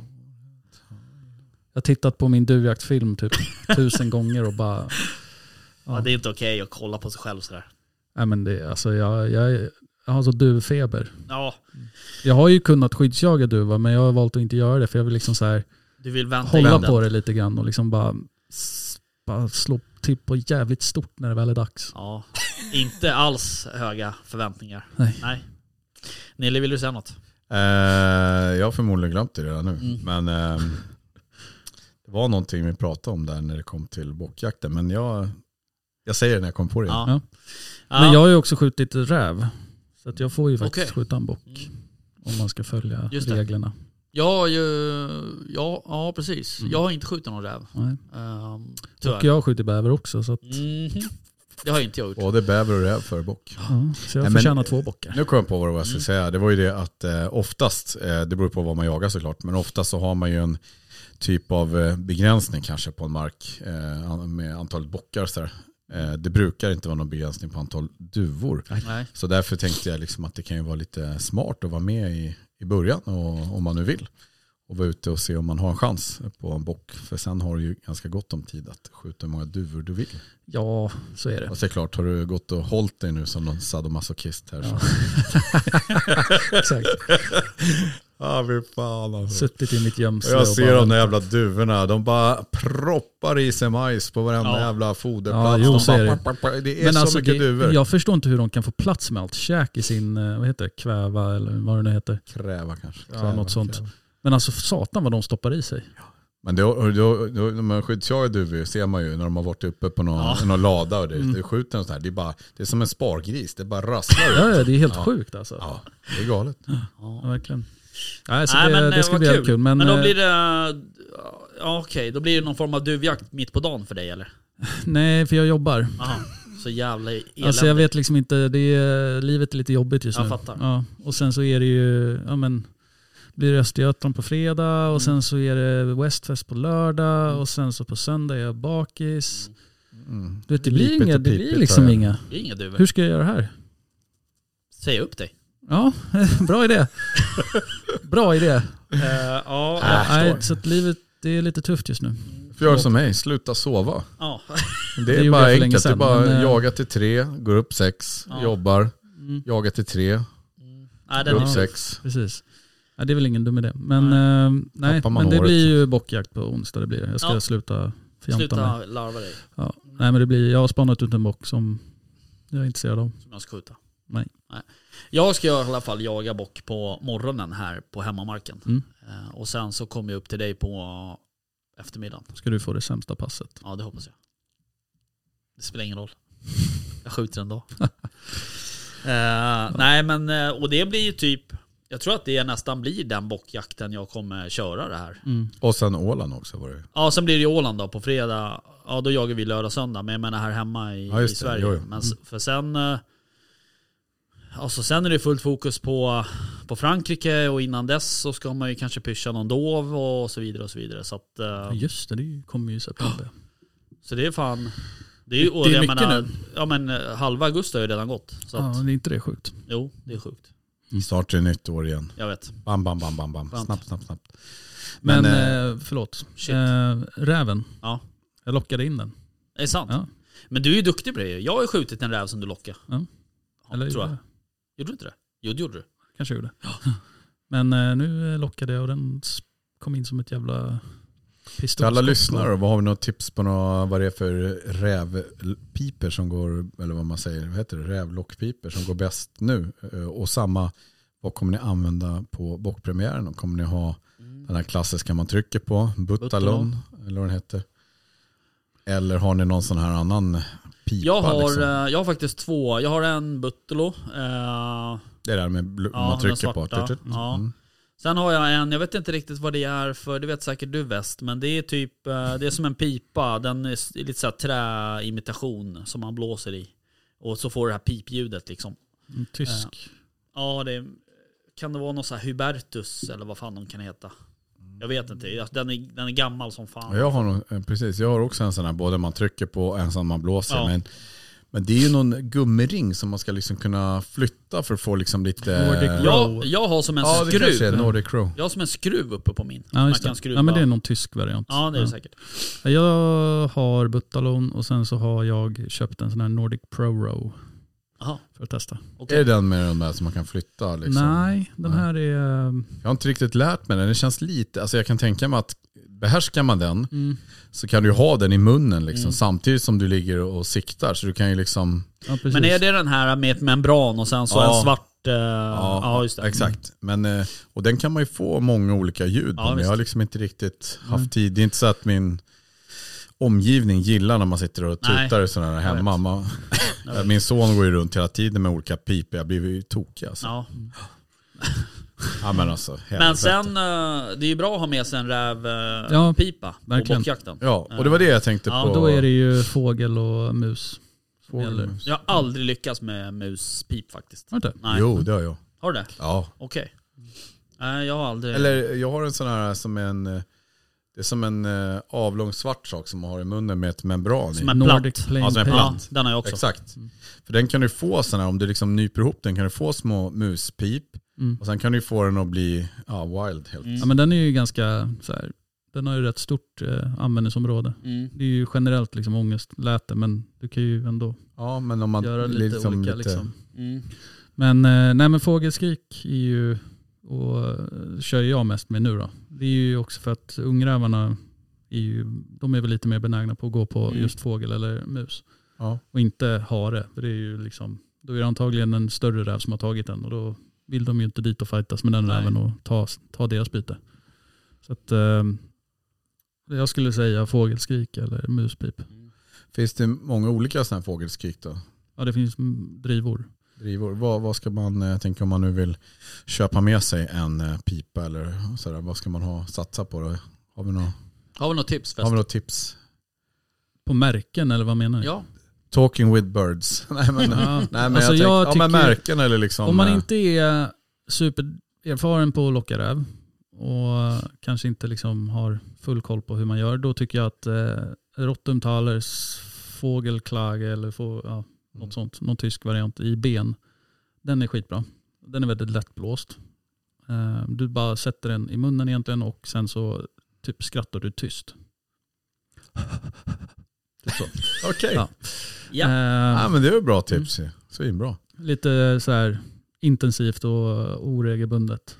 D: Jag har tittat på min duvjaktfilm typ tusen gånger och bara,
C: Ja, det är inte okej att kolla på sig själv sådär.
D: nej men det, alltså jag, jag, är- jag har så duvfeber.
C: Ja,
D: Jag har ju kunnat skyddsjaga duva men jag har valt att inte göra det för jag vill liksom så här
C: du vill vänta in
D: hålla
C: den.
D: på det lite grann och liksom bara, s- bara slå till på jävligt stort när det väl är dags.
C: Ja, inte alls höga förväntningar.
D: Nej.
C: Nille, vill du säga något?
A: Eh, jag har förmodligen glömt det redan nu. Men ehm, det var någonting vi pratade om där när det kom till bockjakten. Men jag, jag säger det när jag kommer på det.
C: Ja.
D: Ja.
C: Ja.
D: Men jag har ju också skjutit räv. Så att jag får ju faktiskt
C: Okej. Mm.
D: skjuta en bock. Om man ska följa
C: Just det.
D: reglerna.
C: Jag har ju, ja, ja precis. Jag har inte skjutit någon räv.
D: Mm. Nej.
C: Um,
D: Och jag har skjutit bäver också. Så, att,
C: Mm. Mhm. Det har inte jag gjort.
A: Både bäver och räv för bock.
D: ja, så
A: Nej,
D: jag
A: men-
D: förtjänar två bockar.
A: Nu kom jag på vad det var jag skulle
C: Mm.
A: säga. Det var ju det att eh, oftast, eh, det beror på vad man jagar såklart, men oftast så har man ju en typ av eh, begränsning kanske på en mark eh, an- med antalet bockar. Så här. Eh, det brukar inte vara någon begränsning på antal duvor.
C: Nej.
A: Så därför tänkte jag liksom att det kan ju vara lite smart att vara med i, i början och, om man nu vill. Och vara ute och se om man har en chans på en bock. För sen har du ju ganska gott om tid att skjuta hur många duvor du vill.
D: Ja, så är det.
A: Och så är det klart, har du gått och hållit dig nu som någon sadomasochist här så...
D: Exakt.
A: Ja, fy fan alltså.
D: Suttit i mitt
A: Och
D: gömsle
A: jag ser
D: bara-
A: de där jävla duvorna, de bara proppar i sig majs på varenda
C: Ja.
A: jävla
D: Ja,
A: foderplats.
D: jo,
A: de
D: så är
A: bara,
D: det.
A: pa, pa, pa. det är
D: men
A: så
D: alltså,
A: mycket
D: det,
A: duvor.
D: jag förstår inte hur de kan få plats med allt käk i sin, eh, vad heter det, kväva eller vad det nu heter.
A: Kräva kanske.
D: Ja, något sånt. Men alltså satan vad de stoppar i sig.
A: Men då, då, då, när man skyddsjagar duvor ser man ju när de har varit uppe på någon,
C: Ja.
A: i någon lada och det,
D: Mm.
A: det skjuter en sån här. Det är, bara, det är som en spargris, det bara rasslar ut.
D: Ja, ja, det är helt
A: Ja.
D: sjukt alltså. Ja.
A: Ja, det är galet.
D: verkligen. Nej, så
C: Nej,
D: det,
C: men, eh,
D: det ska
C: vad
D: bli jävligt kul. Men,
C: Men då
D: eh,
C: blir det, ja, okej, då blir det någon form av duvjakt mitt på dagen för dig eller?
D: Nej, för jag jobbar.
C: Aha. Så jävla eländigt.
D: Alltså jag vet liksom inte, det är, livet är lite jobbigt just
C: Jag
D: nu.
C: fattar.
D: Ja, och sen så är det ju, ja men, blir det Östergötland på fredag
C: Mm.
D: och sen så är det Westfest på lördag och sen så på söndag är jag bakis.
A: Mm.
D: Du vet, det blir,
A: Lipet
D: inga,
A: och
D: det
A: pipet
D: blir
A: har
D: liksom
A: jag.
D: inga.
C: Det är inga duvor.
D: Hur ska jag göra här?
C: Säg upp dig.
D: Ja, bra idé. bra idé.
C: Eh, ja,
A: Ah. Jag
D: Nej,
A: Äh, förstår.
D: så att livet det är lite tufft just nu.
A: Får göra som mig, sluta sova.
C: ja.
A: Det är
D: gjorde
A: bara
D: jag för länge
A: enkelt, det är
D: sedan,
A: bara
D: men, eh,
A: jaga till tre, går upp sex,
C: Ja.
A: jobbar,
D: Mm.
A: jaga till tre,
C: Nej,
A: går
C: Ah, den
A: upp
C: är
A: sex.
D: Precis. Ja, det är väl ingen dum idé. Men, nej. nej,
A: Tappar man
D: men det
A: håret.
D: blir ju bockjakt på onsdag. Det blir. det. Jag ska
C: Ja.
D: sluta fjanta mig.
C: Sluta larva dig
D: Ja. Nej, men det blir, jag har spanat ut en bock som jag är intresserad av.
C: som jag ska skjuta.
D: Nej.
C: Jag ska i alla fall jaga bock på morgonen här på hemmamarken.
D: Mm.
C: Eh, och sen så kommer jag upp till dig på eftermiddagen.
D: Ska du få det sämsta passet.
C: Ja, det hoppas jag. Det spelar ingen roll. Jag skjuter ändå. uh, nej, men eh, och det blir ju typ, jag tror att det nästan blir den bockjakten jag kommer köra det här.
A: Och sen Åland också var det ju.
C: Ja, sen blir det ju Åland då på fredag. Ja, då jagar vi lördag söndag, men jag menar här hemma i,
A: Ja,
C: i
A: just det.
C: Sverige.
A: Jo, Mm. jo.
C: Men s- för sen... eh, Alltså sen är det fullt fokus på, på Frankrike och innan dess så ska man ju kanske pyscha någon dov och så vidare och så vidare. Så, att, eh,
D: Just det, det kommer ju i september.
C: så det är fan... Det är, ju- och
A: Det är
C: jag
A: mycket
C: menar,
A: nu.
C: Ja men eh, halva augusti har ju redan gått. Så att,
D: Ja, det är inte det sjukt.
C: jo, det är sjukt.
A: Snart är det nytt år igen.
C: Jag vet.
A: Bam, bam, bam, bam, bam.
C: Sant.
A: Snabbt, snabbt, snabbt. Men,
D: Men, eh, förlåt.
C: Shit.
D: Eh, räven.
C: Ja.
D: Jag lockade in den.
C: Det är sant.
D: Ja.
C: Men du är ju duktig på det Jag har ju skjutit en räv som du lockade.
D: Ja.
C: Ja, tror jag.
D: gjorde
C: Gjorde du inte det? Jo, det gjorde du.
D: jag. Kanske gjorde. Men eh, nu lockade jag och den s- kom in som ett jävla pistolskott.
A: Till alla lyssnare, vad har vi något tips på några, vad det är för rävpiper som går, eller vad man säger, vad heter det, rävlockpiper som går bäst nu? Eh, Och samma, vad kommer ni använda på bockpremiären? Och Kommer ni ha
C: Mm.
A: den här klassiska man trycker på, Buttalon,
C: Buttalon.
A: eller vad den heter? Eller har ni någon sån här annan pipa?
C: Jag har,
A: liksom?
C: eh, jag har faktiskt två. Jag har en Buttolo. Eh,
A: Det är det här med bl-
C: ja,
A: man
C: den
A: trycker på.
C: svarta.
A: Tut, tut.
C: Ja.
A: Mm.
C: sen har jag en, jag vet inte riktigt vad det är för, det vet säkert du väst, men det är typ, eh, det är som en pipa. Den är s- lite såhär träimitation som man blåser i. Och så får du det här pipljudet liksom.
D: Mm, Tysk.
C: Ja, det kan det vara någon så här Hubertus eller vad fan de kan heta. Jag vet inte, Alltså, den är, den är gammal som fan.
A: Mm. Ja, Jag har, nog- eh, precis, jag har också en sån här både man trycker på och en som man blåser.
C: Ja.
A: Men, men det är ju någon gummiring som man ska liksom kunna flytta för att få liksom lite...
D: Nordic Row.
C: Jag, jag har som en
A: Ja, det kanske är
C: skruv.
A: Nordic Row.
C: Jag har som en skruv uppe på min.
D: Ja,
C: man
D: just
C: kan
D: det.
C: skruva.
D: Ja, men det är någon tysk variant.
C: Ja, det är det säkert.
D: Jag har Buttalon och sen så har jag köpt en sån här Nordic Pro Row
C: Aha,
D: för att testa.
A: Är det den med de där som man kan flytta? Liksom?
D: Nej, den
A: Nej.
D: här är... eh,
A: Jag har inte riktigt lärt mig den. Den känns lite... Alltså jag kan tänka mig att behärskar man den så kan du ju ha den i munnen liksom, samtidigt som du ligger och siktar. Så du kan ju liksom...
D: Ja, precis.
C: Men är det den här med ett membran och sen så
A: Ja.
C: en svart... eh, ja. just det.
A: Exakt. Men, eh, och den kan man ju få många olika ljud på.
C: Ja,
A: men jag
C: visst. Mm.
A: har liksom inte riktigt haft tid. Det är inte så att min omgivning gillar när man sitter och
C: Nej.
A: tutar sådana här hemma. Man, min son går ju runt hela tiden med olika pipor. Jag blir ju tokig alltså. Ja.
C: Ja.
A: men alltså,
C: Men
A: helvete.
C: sen, eh, det är ju bra att ha med sig en rävpipa
D: Ja,
C: ja, pipa på
D: verkligen.
C: bockjakten.
A: Ja, och det var det jag tänkte
C: Ja,
A: på.
D: Då är det ju fågel och mus.
A: Fågel.
D: Eller-
C: Jag har aldrig lyckats med muspip faktiskt.
D: Var det inte?
C: Nej.
A: Jo, det har jag.
C: Har du det?
A: Ja.
C: Okej. Nej, jag har aldrig...
A: Eller jag har en sån här som en... eh, Det är som en eh, avlång svart sak som man har i munnen med ett membran i.
C: Som en
D: Nordic
C: platt.
D: Plain
A: Ja, som en
D: Pale.
A: platt.
C: ja, den har jag också.
A: Exakt.
D: Mm.
A: För den kan du få sådana, om du liksom nyper ihop den kan du få små muspip.
D: Mm.
A: Och sen kan du få den att bli ja, wild helt.
D: Ja, men den är ju ganska så här, den har ju rätt stort eh, användningsområde.
C: Mm.
D: Det är ju generellt liksom ångestläte men du kan ju ändå
A: Ja men om man
D: göra lite
A: liksom
D: olika.
A: lite-
D: Liksom.
C: Mm.
D: Men, eh, nej, men fågelskrik är ju, och eh, kör jag mest med nu då. Det är ju också för att ungrävarna är ju, de är väl lite mer benägna på att gå på
C: Mm.
D: just fågel eller mus.
A: Ja.
D: Och inte hare, för det är ju liksom, då är det antagligen en större räv som har tagit den och då vill de ju inte dit och fightas med den
C: Nej.
D: räven och ta, ta deras byte. Så att, eh, jag skulle säga fågelskrik eller muspip.
A: Finns det många olika sådana här fågelskrik då?
D: Ja det finns mm, drivor.
A: Drivor. Vad, vad ska man, eh, jag tänker om man nu vill köpa med sig en eh, pipa eller sådär, vad ska man ha, satsa på då? Har vi några,
C: Har vi något tips?
A: har
C: förresten?
A: vi några tips?
D: På märken eller vad menar du?
C: Ja.
A: Talking with birds. nej men,
D: Ja.
A: nej, men
D: Alltså,
A: jag,
D: jag
A: tänker, ja, men
D: tycker-
A: märken eller liksom.
D: Om man
A: eh,
D: inte är supererfaren på att locka räv och kanske inte liksom har full koll på hur man gör, då tycker jag att eh, Rottumtalers fågelklage eller få, ja,
A: Mm.
D: något sånt, någon tysk variant i ben, den är skitbra. Den är väldigt lättblåst. Eh, du bara sätter den i munnen egentligen och sen så typ skrattar du tyst. Eh, Typ så.
A: eh, Okej,
D: Ja.
C: Ja.
D: Eh,
A: ja, men det är ju bra tips ju. Svinbra.
D: lite så här intensivt och oregelbundet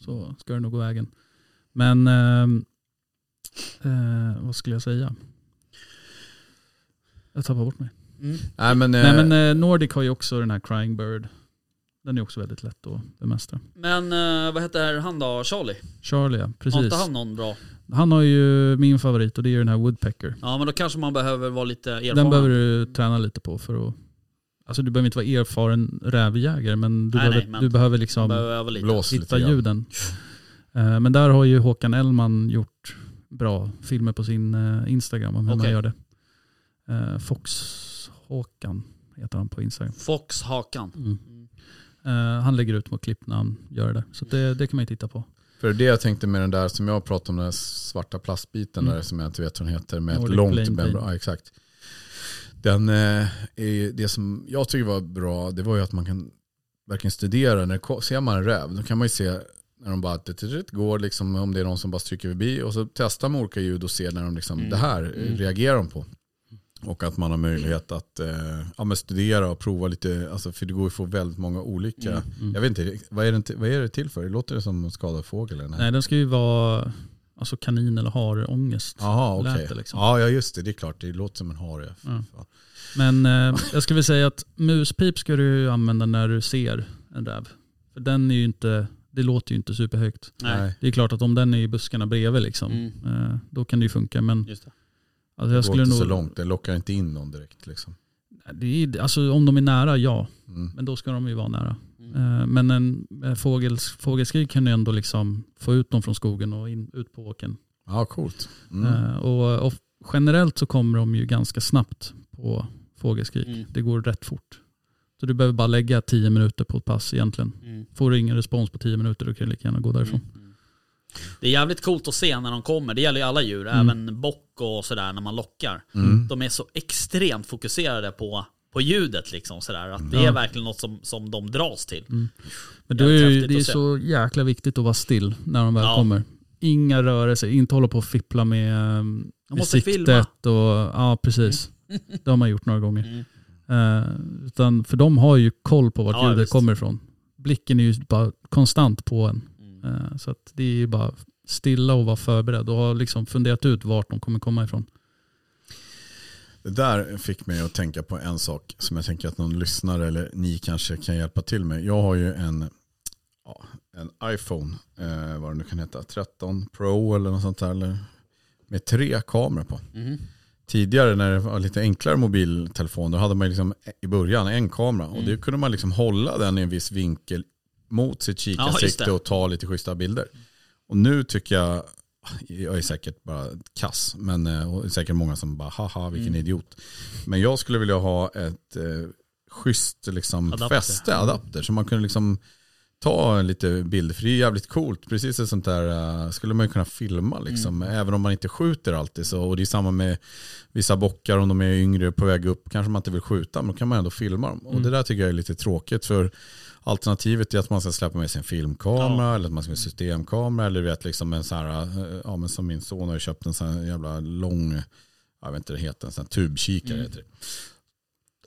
D: så ska det nog gå vägen. Men ehm, eh, vad skulle jag säga? Jag tappar bort mig.
C: Mm.
A: Nej men, eh,
D: Nej men eh, Nordic har ju också den här Crying Bird. Den är också väldigt lätt att bemästra.
C: Men eh, vad heter han då? Charlie?
D: Charlie, ja,
C: Har
D: precis.
C: inte han någon bra?
D: Han har ju min favorit och det är ju den här Woodpecker.
C: Ja men då kanske man behöver vara lite erfaren.
D: Den behöver du träna lite på för att... Alltså du behöver inte vara erfaren rävjägare men du
C: Nej, nej,
D: behöver,
C: men-
D: du behöver
C: Man
D: liksom...
C: behöver öva lite.
A: blås lite
D: hitta
A: grann.
D: ljuden. Eh, Men där har ju Håkan Ellman gjort bra filmer på sin eh, Instagram om hur man
C: Okej.
D: gör det. Eh, Fox Håkan heter han på Instagram.
C: Fox Hakan.
D: Eh, Han lägger ut små klipp när han gör det. Så det, det kan man ju titta på.
A: För det jag tänkte med den där som jag pratade om, den där svarta plastbiten
D: Mm.
A: där som jag inte vet vad den heter, med ett
D: Nordic
A: långt
D: Plain
A: membrane.
D: Plain.
A: Ja, exakt. Den, eh, är ju, det som jag tycker var bra, det var ju att man kan verkligen studera. När det, ko- ser man en räv, då kan man ju se när de bara tut, tut, tut, går, liksom, om det är någon som bara stryker förbi. Och så testar man olika ljud och ser när de liksom,
C: Mm.
A: det här eh,
C: Mm.
A: reagerar de på. Och att man har möjlighet att eh, ja, men studera och prova lite, alltså, för det går ju att få väldigt många olika.
C: Mm.
D: Mm.
A: Jag vet inte, riktigt, vad är, det, till- vad är det till för? Låter det som en skadad fågel? Eller?
D: Nej, den ska ju vara alltså kanin eller harångest.
A: Jaha,
D: lät
A: okej.
D: det liksom.
A: Ja, ja, just det. Det är klart. Det låter som en hare. Fy
D: Mm.
A: fan.
D: Men eh, jag skulle vilja säga att muspip ska du ju använda när du ser en räv. För den är ju inte, det låter ju inte superhögt.
C: Nej.
D: Det är klart att om den är i buskarna bredvid liksom,
C: Mm.
D: eh, då kan det ju funka. Men
C: Just det.
D: alltså, jag
A: Det går
D: skulle
A: inte
D: nog...
A: så långt. Den lockar inte in någon direkt. Liksom.
D: Det är, alltså, om de är nära, ja.
A: Mm.
D: Men då ska de ju vara nära.
C: Mm.
D: Eh, Men en eh, fågels, fågelskrik kan ju ändå liksom få ut dem från skogen och in, ut på åken.
A: Ja, coolt. Mm.
D: Eh, Och, och generellt så kommer de ju ganska snabbt på fågelskrik.
C: Mm.
D: Det går rätt fort. Så du behöver bara lägga 10 minuter på ett pass egentligen.
C: Mm.
D: Får du ingen respons på 10 minuter då kan du lika gärna gå därifrån.
C: Mm. Det är jävligt coolt att se när de kommer. Det gäller ju alla djur,
D: Mm.
C: även bock och sådär när man lockar.
A: Mm.
C: De är så extremt fokuserade på, på ljudet liksom sådär. Att det
D: Ja.
C: är verkligen något som, som de dras till.
D: Men då är
C: Jävligt
D: det ju-
C: häftigt
D: det är
C: att se.
D: så jäkla viktigt att vara still när de väl
C: Ja.
D: kommer. Inga rörelser, inte hålla på och fippla med, eh, med
C: måste
D: siktet.
C: filma.
D: Och, ja, precis. Det har man gjort några gånger.
C: Mm.
D: Eh, utan, för de har ju koll på vart
C: Ja,
D: ljudet
C: visst.
D: kommer ifrån. Blicken är ju bara konstant på en.
C: Mm.
D: Eh, Så att det är ju bara stilla och vara förberedd och ha liksom funderat ut vart de kommer komma ifrån.
A: Det där fick mig att tänka på en sak som jag tänker att någon lyssnare eller ni kanske kan hjälpa till med. Jag har ju en, ja, en iPhone, eh, vad det nu kan heta, 13 Pro eller något sånt där. Eller, med tre kameror på.
C: Mm.
A: tidigare när det var lite enklare mobiltelefon, då hade man liksom i början en kamera och
C: Mm.
A: då kunde man liksom hålla den i en viss vinkel mot sitt
C: Ja, just
A: kikarsikte
C: det.
A: och ta lite schyssta bilder. Och nu tycker jag, jag är säkert bara kass, men eh, och det är säkert många som bara haha vilken
C: Mm.
A: idiot. Men jag skulle vilja ha ett eh, schysst liksom,
C: Adapter.
A: fäste, adapter, så man kunde liksom ta en lite bilder, för det är jävligt coolt. Precis ett sånt där eh, skulle man ju kunna filma liksom,
C: Mm.
A: även om man inte skjuter alltid. Så, och det är samma med vissa bockar, om de är yngre på väg upp kanske man inte vill skjuta, men då kan man ändå filma dem. Och det där tycker jag är lite tråkigt, för alternativet är att man ska släppa med sig en filmkamera, eller att man ska ha en systemkamera, eller du vet, liksom en sån här, eh, ja men som min son har ju köpt en sån här jävla lång, jag vet inte det heter, en sån här tubkikare
C: Mm.
A: heter det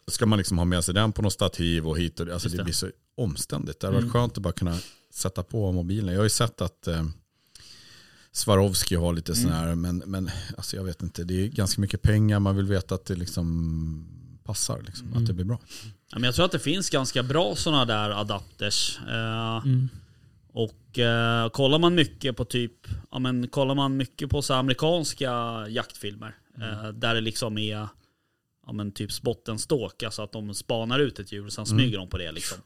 A: ska man liksom ha med sig den på något stativ och hit och alltså
C: Just
A: det.
C: det.
A: blir så omständigt. Det hade varit
C: Mm.
A: skönt att bara kunna sätta på mobilen. Jag har ju sett att eh, Swarovski har lite sån
C: Mm.
A: här, men, men alltså jag vet inte, det är ganska mycket pengar, man vill veta att det liksom passar, liksom, att
C: Mm.
A: det blir bra.
C: Ja, men jag tror att det finns ganska bra sådana där adapters. Eh,
D: Mm.
C: Och eh, kollar man mycket på typ, ja men kollar man mycket på så här amerikanska jaktfilmer.
D: Mm.
C: Eh, där det liksom är, ja men typ bottenståk, alltså att de spanar ut ett djur och
D: Mm.
C: sen smyger de på det liksom.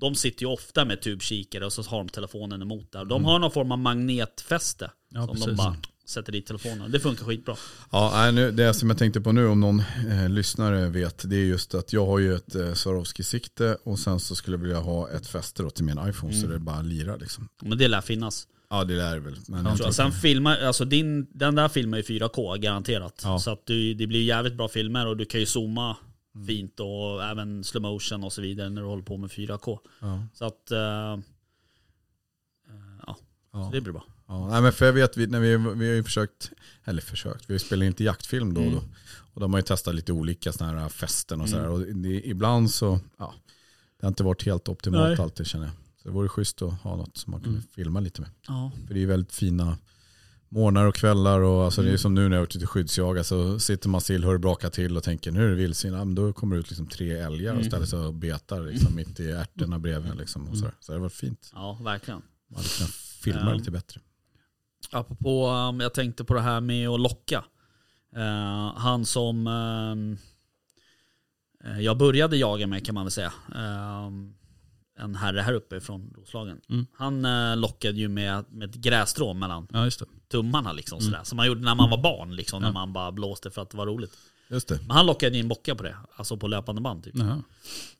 C: De sitter ju ofta med tubkikare och så har de telefonen emot där. De har någon form av magnetfäste.
D: Mm. Ja,
C: som de
D: precis.
C: bara sätter dit telefonen. Det funkar skitbra.
A: Ja, nej, nu, det som jag tänkte på nu om någon eh, lyssnare vet, det är just att jag har ju ett eh, Swarovski-sikte och sen så skulle jag vilja ha ett fäste då till min iPhone
C: Mm.
A: så det bara lirar liksom.
C: Men det lär finnas.
A: Ja, det lär det väl. Men
C: Jag
A: jag
C: tror jag.
A: tror-
C: Sen filmar, alltså din, den där filmen är 4K garanterat.
A: Ja.
C: Så att du, det blir jävligt bra filmer och du kan ju zooma
A: Mm.
C: fint och även slow motion och så vidare när du håller på med 4K.
A: ja,
C: Så att eh, eh, ja,
A: ja.
C: så det blir bra.
A: Ja, nej, men för jag vet, vi, när vi, vi har ju försökt, eller försökt, vi spelar inte jaktfilm då och
C: Mm.
A: då. Och de har ju testat lite olika sådana här fästen och sådär. Och det, ibland så, ja, det har inte varit helt optimalt
C: Nej. Mm.
A: alltid känner jag. Så det vore schysst att ha något som man kunde filma lite med.
C: Ja.
A: För det är ju väldigt fina morgnar och kvällar och alltså
C: Mm.
A: det är som nu när jag har varit ute och skyddsjaga så sitter man still, hör det braka till och tänker nu är det vildsvin. Ja, men då kommer det ut liksom tre älgar
C: Mm.
A: och ställer sig och betar liksom mitt i ärtorna bredvid. Liksom och
C: Mm.
A: sådär. Så det var fint.
C: ja, verkligen.
A: Man hade kunnat filma
C: Ja.
A: lite bättre.
C: Apropå, um, jag tänkte på det här med att locka. Eh, han som ehm, eh, jag började jaga med kan man väl säga. Ehm, en herre här uppe från Roslagen.
D: Mm.
C: Han eh, lockade ju med, med ett grässtrå mellan
D: Ja, just det.
C: tummarna liksom sådär. Som man gjorde när man var barn liksom. När
D: Mm. Ja.
C: man bara blåste för att det var roligt.
A: Just det.
C: Men han lockade ju en bocka på det. Alltså på löpande band typ.
D: Jaha.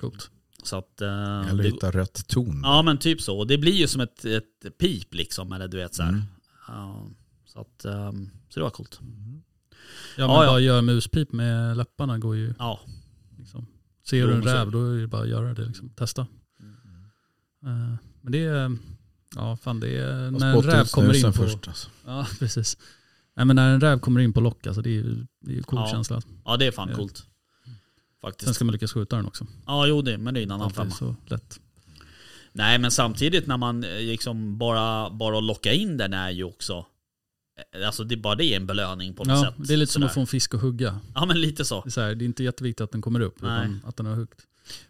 D: Coolt.
C: Så att... eh,
A: Eller
C: det-
A: hitta rätt ton.
C: Ja men typ så. Och det blir ju som ett,
D: Mm.
A: Mm.
C: ett pip liksom. Eller du vet såhär. Ja, så att, ehm, så det var coolt.
D: Ja, men
C: Ja, ja.
D: bara gör muspip med läpparna går ju.
C: Ja.
D: Liksom. Ser du
C: Jo,
D: en
C: men så- Mm.
D: räv då är det bara att göra det. Liksom. Testa. Eh, Men det är, ja fan det är,
A: Och
D: när en
A: spotta
D: räv
A: ut
D: kommer in på,
A: snusen Först, alltså.
D: ja precis. Nej men när en räv kommer in på lock alltså det är ju, det är ju cool
C: Ja.
D: känsla.
C: ja, det är fan
D: Ja.
C: coolt. Faktiskt.
D: Sen ska man lyckas skjuta den också.
C: Ja, jo det, men det är en annan
D: Alltid
C: femma.
D: så lätt.
C: Nej, men samtidigt när man eh, liksom bara, bara att locka in den är ju också, eh, alltså det, bara det är en belöning på något
D: Ja,
C: sätt.
D: det är lite som
C: Sådär.
D: att få en fisk att hugga.
C: Ja, men lite så.
D: Det är, så här, det är inte jätteviktigt att den kommer upp
C: Nej.
D: utan att den har huggt.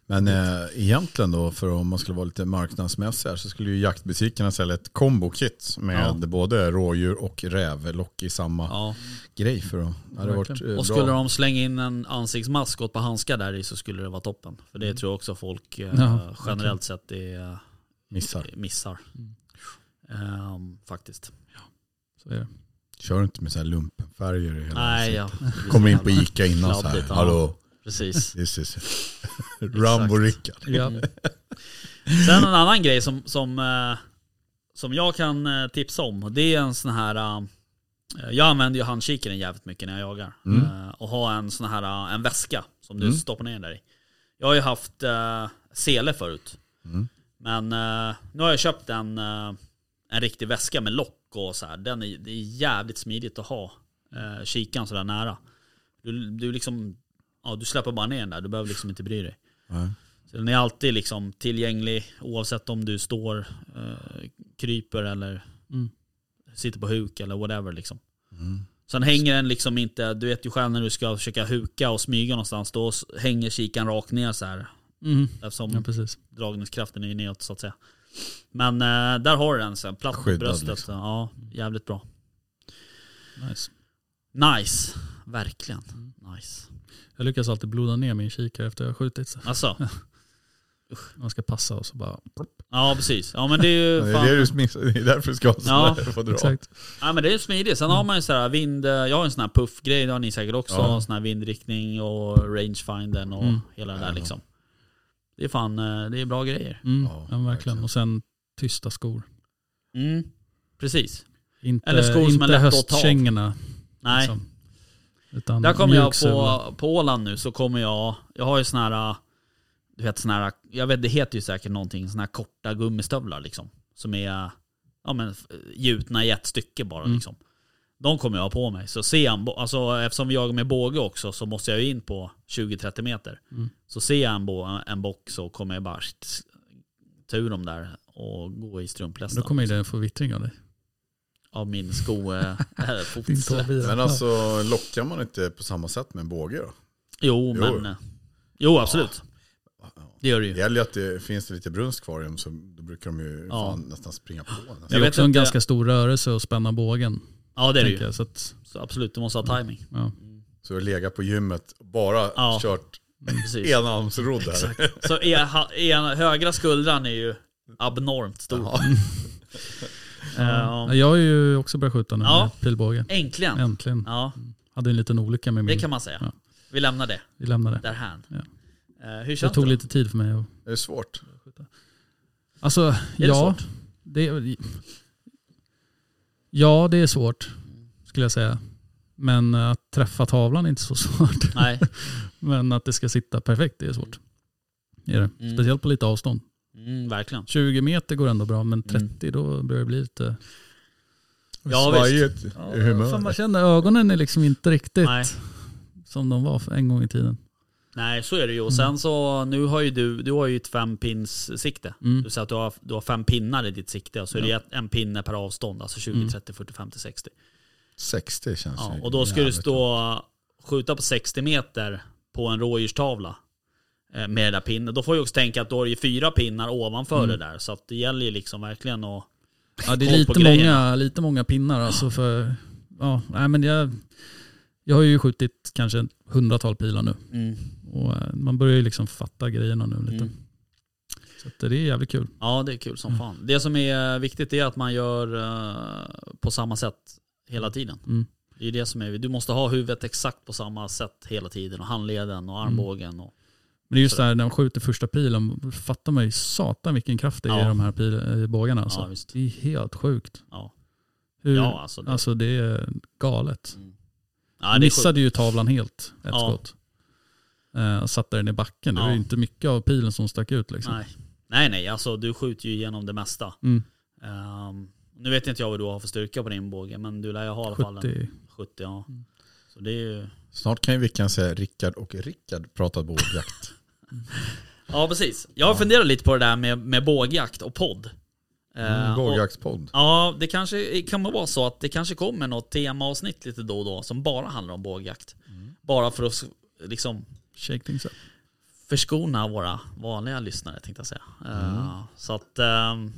A: Men eh, egentligen då, för om man skulle vara lite marknadsmässig här, så skulle ju jaktbutikerna sälja ett kombokit med
C: Ja.
A: både rådjur och rävlock i samma
C: Ja.
A: grej. För då hade det varit
D: Verkligen.
A: eh,
C: Och skulle
A: bra.
C: de slänga in en ansiktsmask och ett par handskar där i så skulle det vara toppen. För det tror jag också folk eh,
D: Mm. Ja,
C: generellt sett är, eh,
A: Missar.
C: missar.
D: Mm.
C: Ehm, faktiskt.
D: Så är det.
A: Kör inte med så här lumpenfärger i hela
C: Nej,
A: ansiktet.
C: ja.
A: Kommer in på Ica innan så här.
C: Kladdigt, ja.
A: Hallå,
C: Precis.
A: this is Rambo Rickard.
D: Ja.
C: Mm. Sen en annan grej som, som, eh, som jag kan eh, tipsa om. och Det är en sån här... eh, Jag använder ju handkikaren jävligt mycket när jag jagar.
A: Mm.
C: Eh, Och ha en sån här eh, en väska som du
A: Mm.
C: stoppar ner den där i. Jag har ju haft eh, sele förut.
A: Mm.
C: Men eh, nu har jag köpt en, eh, en riktig väska med lock och så här. Den är, det är jävligt smidigt att ha eh, kikaren så där nära. Du, du, liksom, ja, du släpper bara ner den där, du behöver liksom inte bry dig.
A: Nej.
C: Så den är alltid liksom tillgänglig oavsett om du står, eh, kryper eller
D: Mm.
C: sitter på huk eller whatever. Liksom.
A: Mm.
C: Sen hänger den liksom inte, du vet ju själv när du ska försöka huka och smyga någonstans, då s- hänger kikaren rakt ner så här.
D: Mm.
C: Eftersom
D: ja, precis.
C: dragningskraften är ju neråt så att säga. Men eh, där har du den sen, platt på
A: Skyddad
C: bröstet.
A: liksom.
C: Ja, jävligt bra.
D: Nice.
C: Nice, verkligen. Nice.
D: Jag lyckas alltid bloda ner min kikare efter jag har skjutit. så.
C: Alltså,
D: Man ska passa och så bara...
C: ja precis. Ja men det är
A: Det
C: ju fan...
A: är, det, du missar, det är därför du ska ha
C: Ja,
A: sådär för att dra.
D: Exakt.
C: Ja men det är smidigt. Sen har man ju så här vind, eh, jag har en sån här puffgrej, det har ni säkert också.
A: Ja.
C: Sån här vindriktning och rangefindern och
D: Mm.
C: hela det
A: Ja.
C: där liksom. Det är fan, eh, det är bra grejer.
D: Mm.
A: Ja,
D: Ja, men verkligen.
A: verkligen.
D: Och sen tysta skor.
C: Mm. Precis.
D: Inte,
C: Eller skor som är
D: inte
C: lätta att ta av.
D: höstkängorna.
C: Nej.
D: liksom. Utan
C: Där kommer jag
D: mjuksula.
C: på, på Åland nu så kommer jag, jag har ju sån här, du vet sån här, jag vet det heter ju säkert någonting, sån här korta gummistövlar liksom. Som är, ja men f- gjutna i ett stycke bara
D: Mm.
C: liksom. De kommer jag ha på mig. Så ser jag, en bo- alltså eftersom vi jagar med båge också så måste jag ju in på 20-30 meter.
D: Mm.
C: Så ser jag en, bo, en bock så kommer jag bara s- ta ur dem där och gå i
D: Alltså, Då
C: strumplästen.
D: kommer ju den få vittring av dig.
C: Av min sko, eh, eh,
D: Din
C: fots.
D: tåbira.
A: Men alltså lockar man inte på samma sätt med en båge då?
C: Jo, men, eh, jo absolut. Det gör det ju.
A: Det gäller ju att det finns det lite brunst kvar i dem så då brukar de ju
C: Ja.
A: fan nästan springa på en.
D: det är
C: vet
D: också en
C: inte-
D: ganska stor rörelse att spänna bågen.
C: Ja det är det ju.
D: tänker jag, så att,
C: Så absolut, du måste ha timing.
D: ja.
A: Så att lägga på gymmet och bara
C: Ja.
A: kört
C: Mm, Precis.
A: enarmsrodd där.
C: Så er, ha- er, högra skuldran är ju abnormt stor.
A: Ja.
C: Ehm,
D: Jag har ju också börjat skjuta nu
C: Ja.
D: med pilbåge.
C: äntligen.
D: Äntligen.
C: Ja,
D: Hade en liten olycka med
C: det
D: min.
C: kan man säga.
D: Ja.
C: Vi lämnar det
D: Vi lämnade det.
C: därhän.
D: Ja.
C: Eh, hur
D: Det
C: känns det?
D: tog
C: då?
D: lite tid för mig att...
A: Det är svårt.
D: Alltså,
C: det
D: ja.
C: svårt?
D: Det ja, det är svårt skulle jag säga. Men eh, att träffa tavlan är inte så svårt.
C: Nej.
D: Men att det ska sitta perfekt, det är svårt. Det är det.
C: Mm.
D: Speciellt på lite avstånd.
C: Mm, verkligen.
D: 20 meter går ändå bra, men
C: Mm.
D: 30 då börjar det bli lite...
C: Ja,
A: Svajigt i
D: Fan, man
A: humöret.
D: känner ögonen är liksom inte riktigt
C: Nej.
D: som de var för en gång i tiden.
C: Nej, så är det ju. Och
D: Mm.
C: sen så, nu har ju du, du har ju ett fempins sikte.
D: Mm.
C: Du säger att du har, du har fem pinnar i ditt sikte och så är
D: Ja.
C: det ett- en pinne per avstånd. Alltså 20,
D: Mm.
C: 30, 40, 50, 60.
A: 60 känns
C: Ja,
A: ju
D: Alltså,
C: och då ska du
A: jävligt bra.
C: stå skjuta på 60 meter på en rådjurstavla eh, med den där pinnen. Då får jag också tänka att då har du ju fyra pinnar ovanför
D: Mm.
C: det där. Så att det gäller ju liksom verkligen att...
D: Ja, det
C: koll
D: är
C: på
D: lite
C: grejerna.
D: många, lite många pinnar alltså för... Ja, nej, men jag, jag har ju skjutit kanske ett hundratal pilar nu. Och eh, man börjar ju liksom fatta grejerna nu lite.
C: Mm.
D: Så att det är jävligt kul.
C: Ja, det är kul
D: Mm.
C: som fan. Det som är viktigt är att man gör eh, på samma sätt hela tiden.
D: Mm.
C: Det är det som är... Du måste ha huvudet exakt på samma sätt hela tiden. Och handleden
D: Mm.
C: och armbågen. Och,
D: Men det är just det här när de skjuter första pilen, då fattar man ju satan vilken kraft det är
C: Ja.
D: i de här pil, i bågarna. Alltså.
C: Ja, visst.
D: det är helt sjukt.
C: Ja.
D: Hur,
C: Ja, alltså det-
D: alltså det är galet.
C: Mm. Ja, det är sjukt.
D: missade ju tavlan helt, ett
C: Ja.
D: skott. Eh, och satte den i backen. Det var
C: Ja.
D: ju inte mycket av pilen som stack ut liksom.
C: Nej. nej, nej, alltså du skjuter ju igenom det mesta.
D: Mm.
C: Ehm, nu vet inte jag vad du har för styrka på din båge, men du lär ju ha i alla fall en
D: 70.
C: 70. Ja. Så det är ju...
A: Snart kan ju Vickan säga Rickard och Rickard pratar bågjakt.
C: Ja, precis. Jag har funderat lite på det där med, med bågjakt och podd. Ehm,
A: Mm,
C: och-
A: bågjaktspodd.
C: Ja, det kanske kan vara så att det kanske kommer något temaavsnitt lite då och då som bara handlar om bågjakt. Bara för att liksom
D: Shake things up.
C: förskona våra vanliga lyssnare tänkte jag säga. Eh, så att, ehm,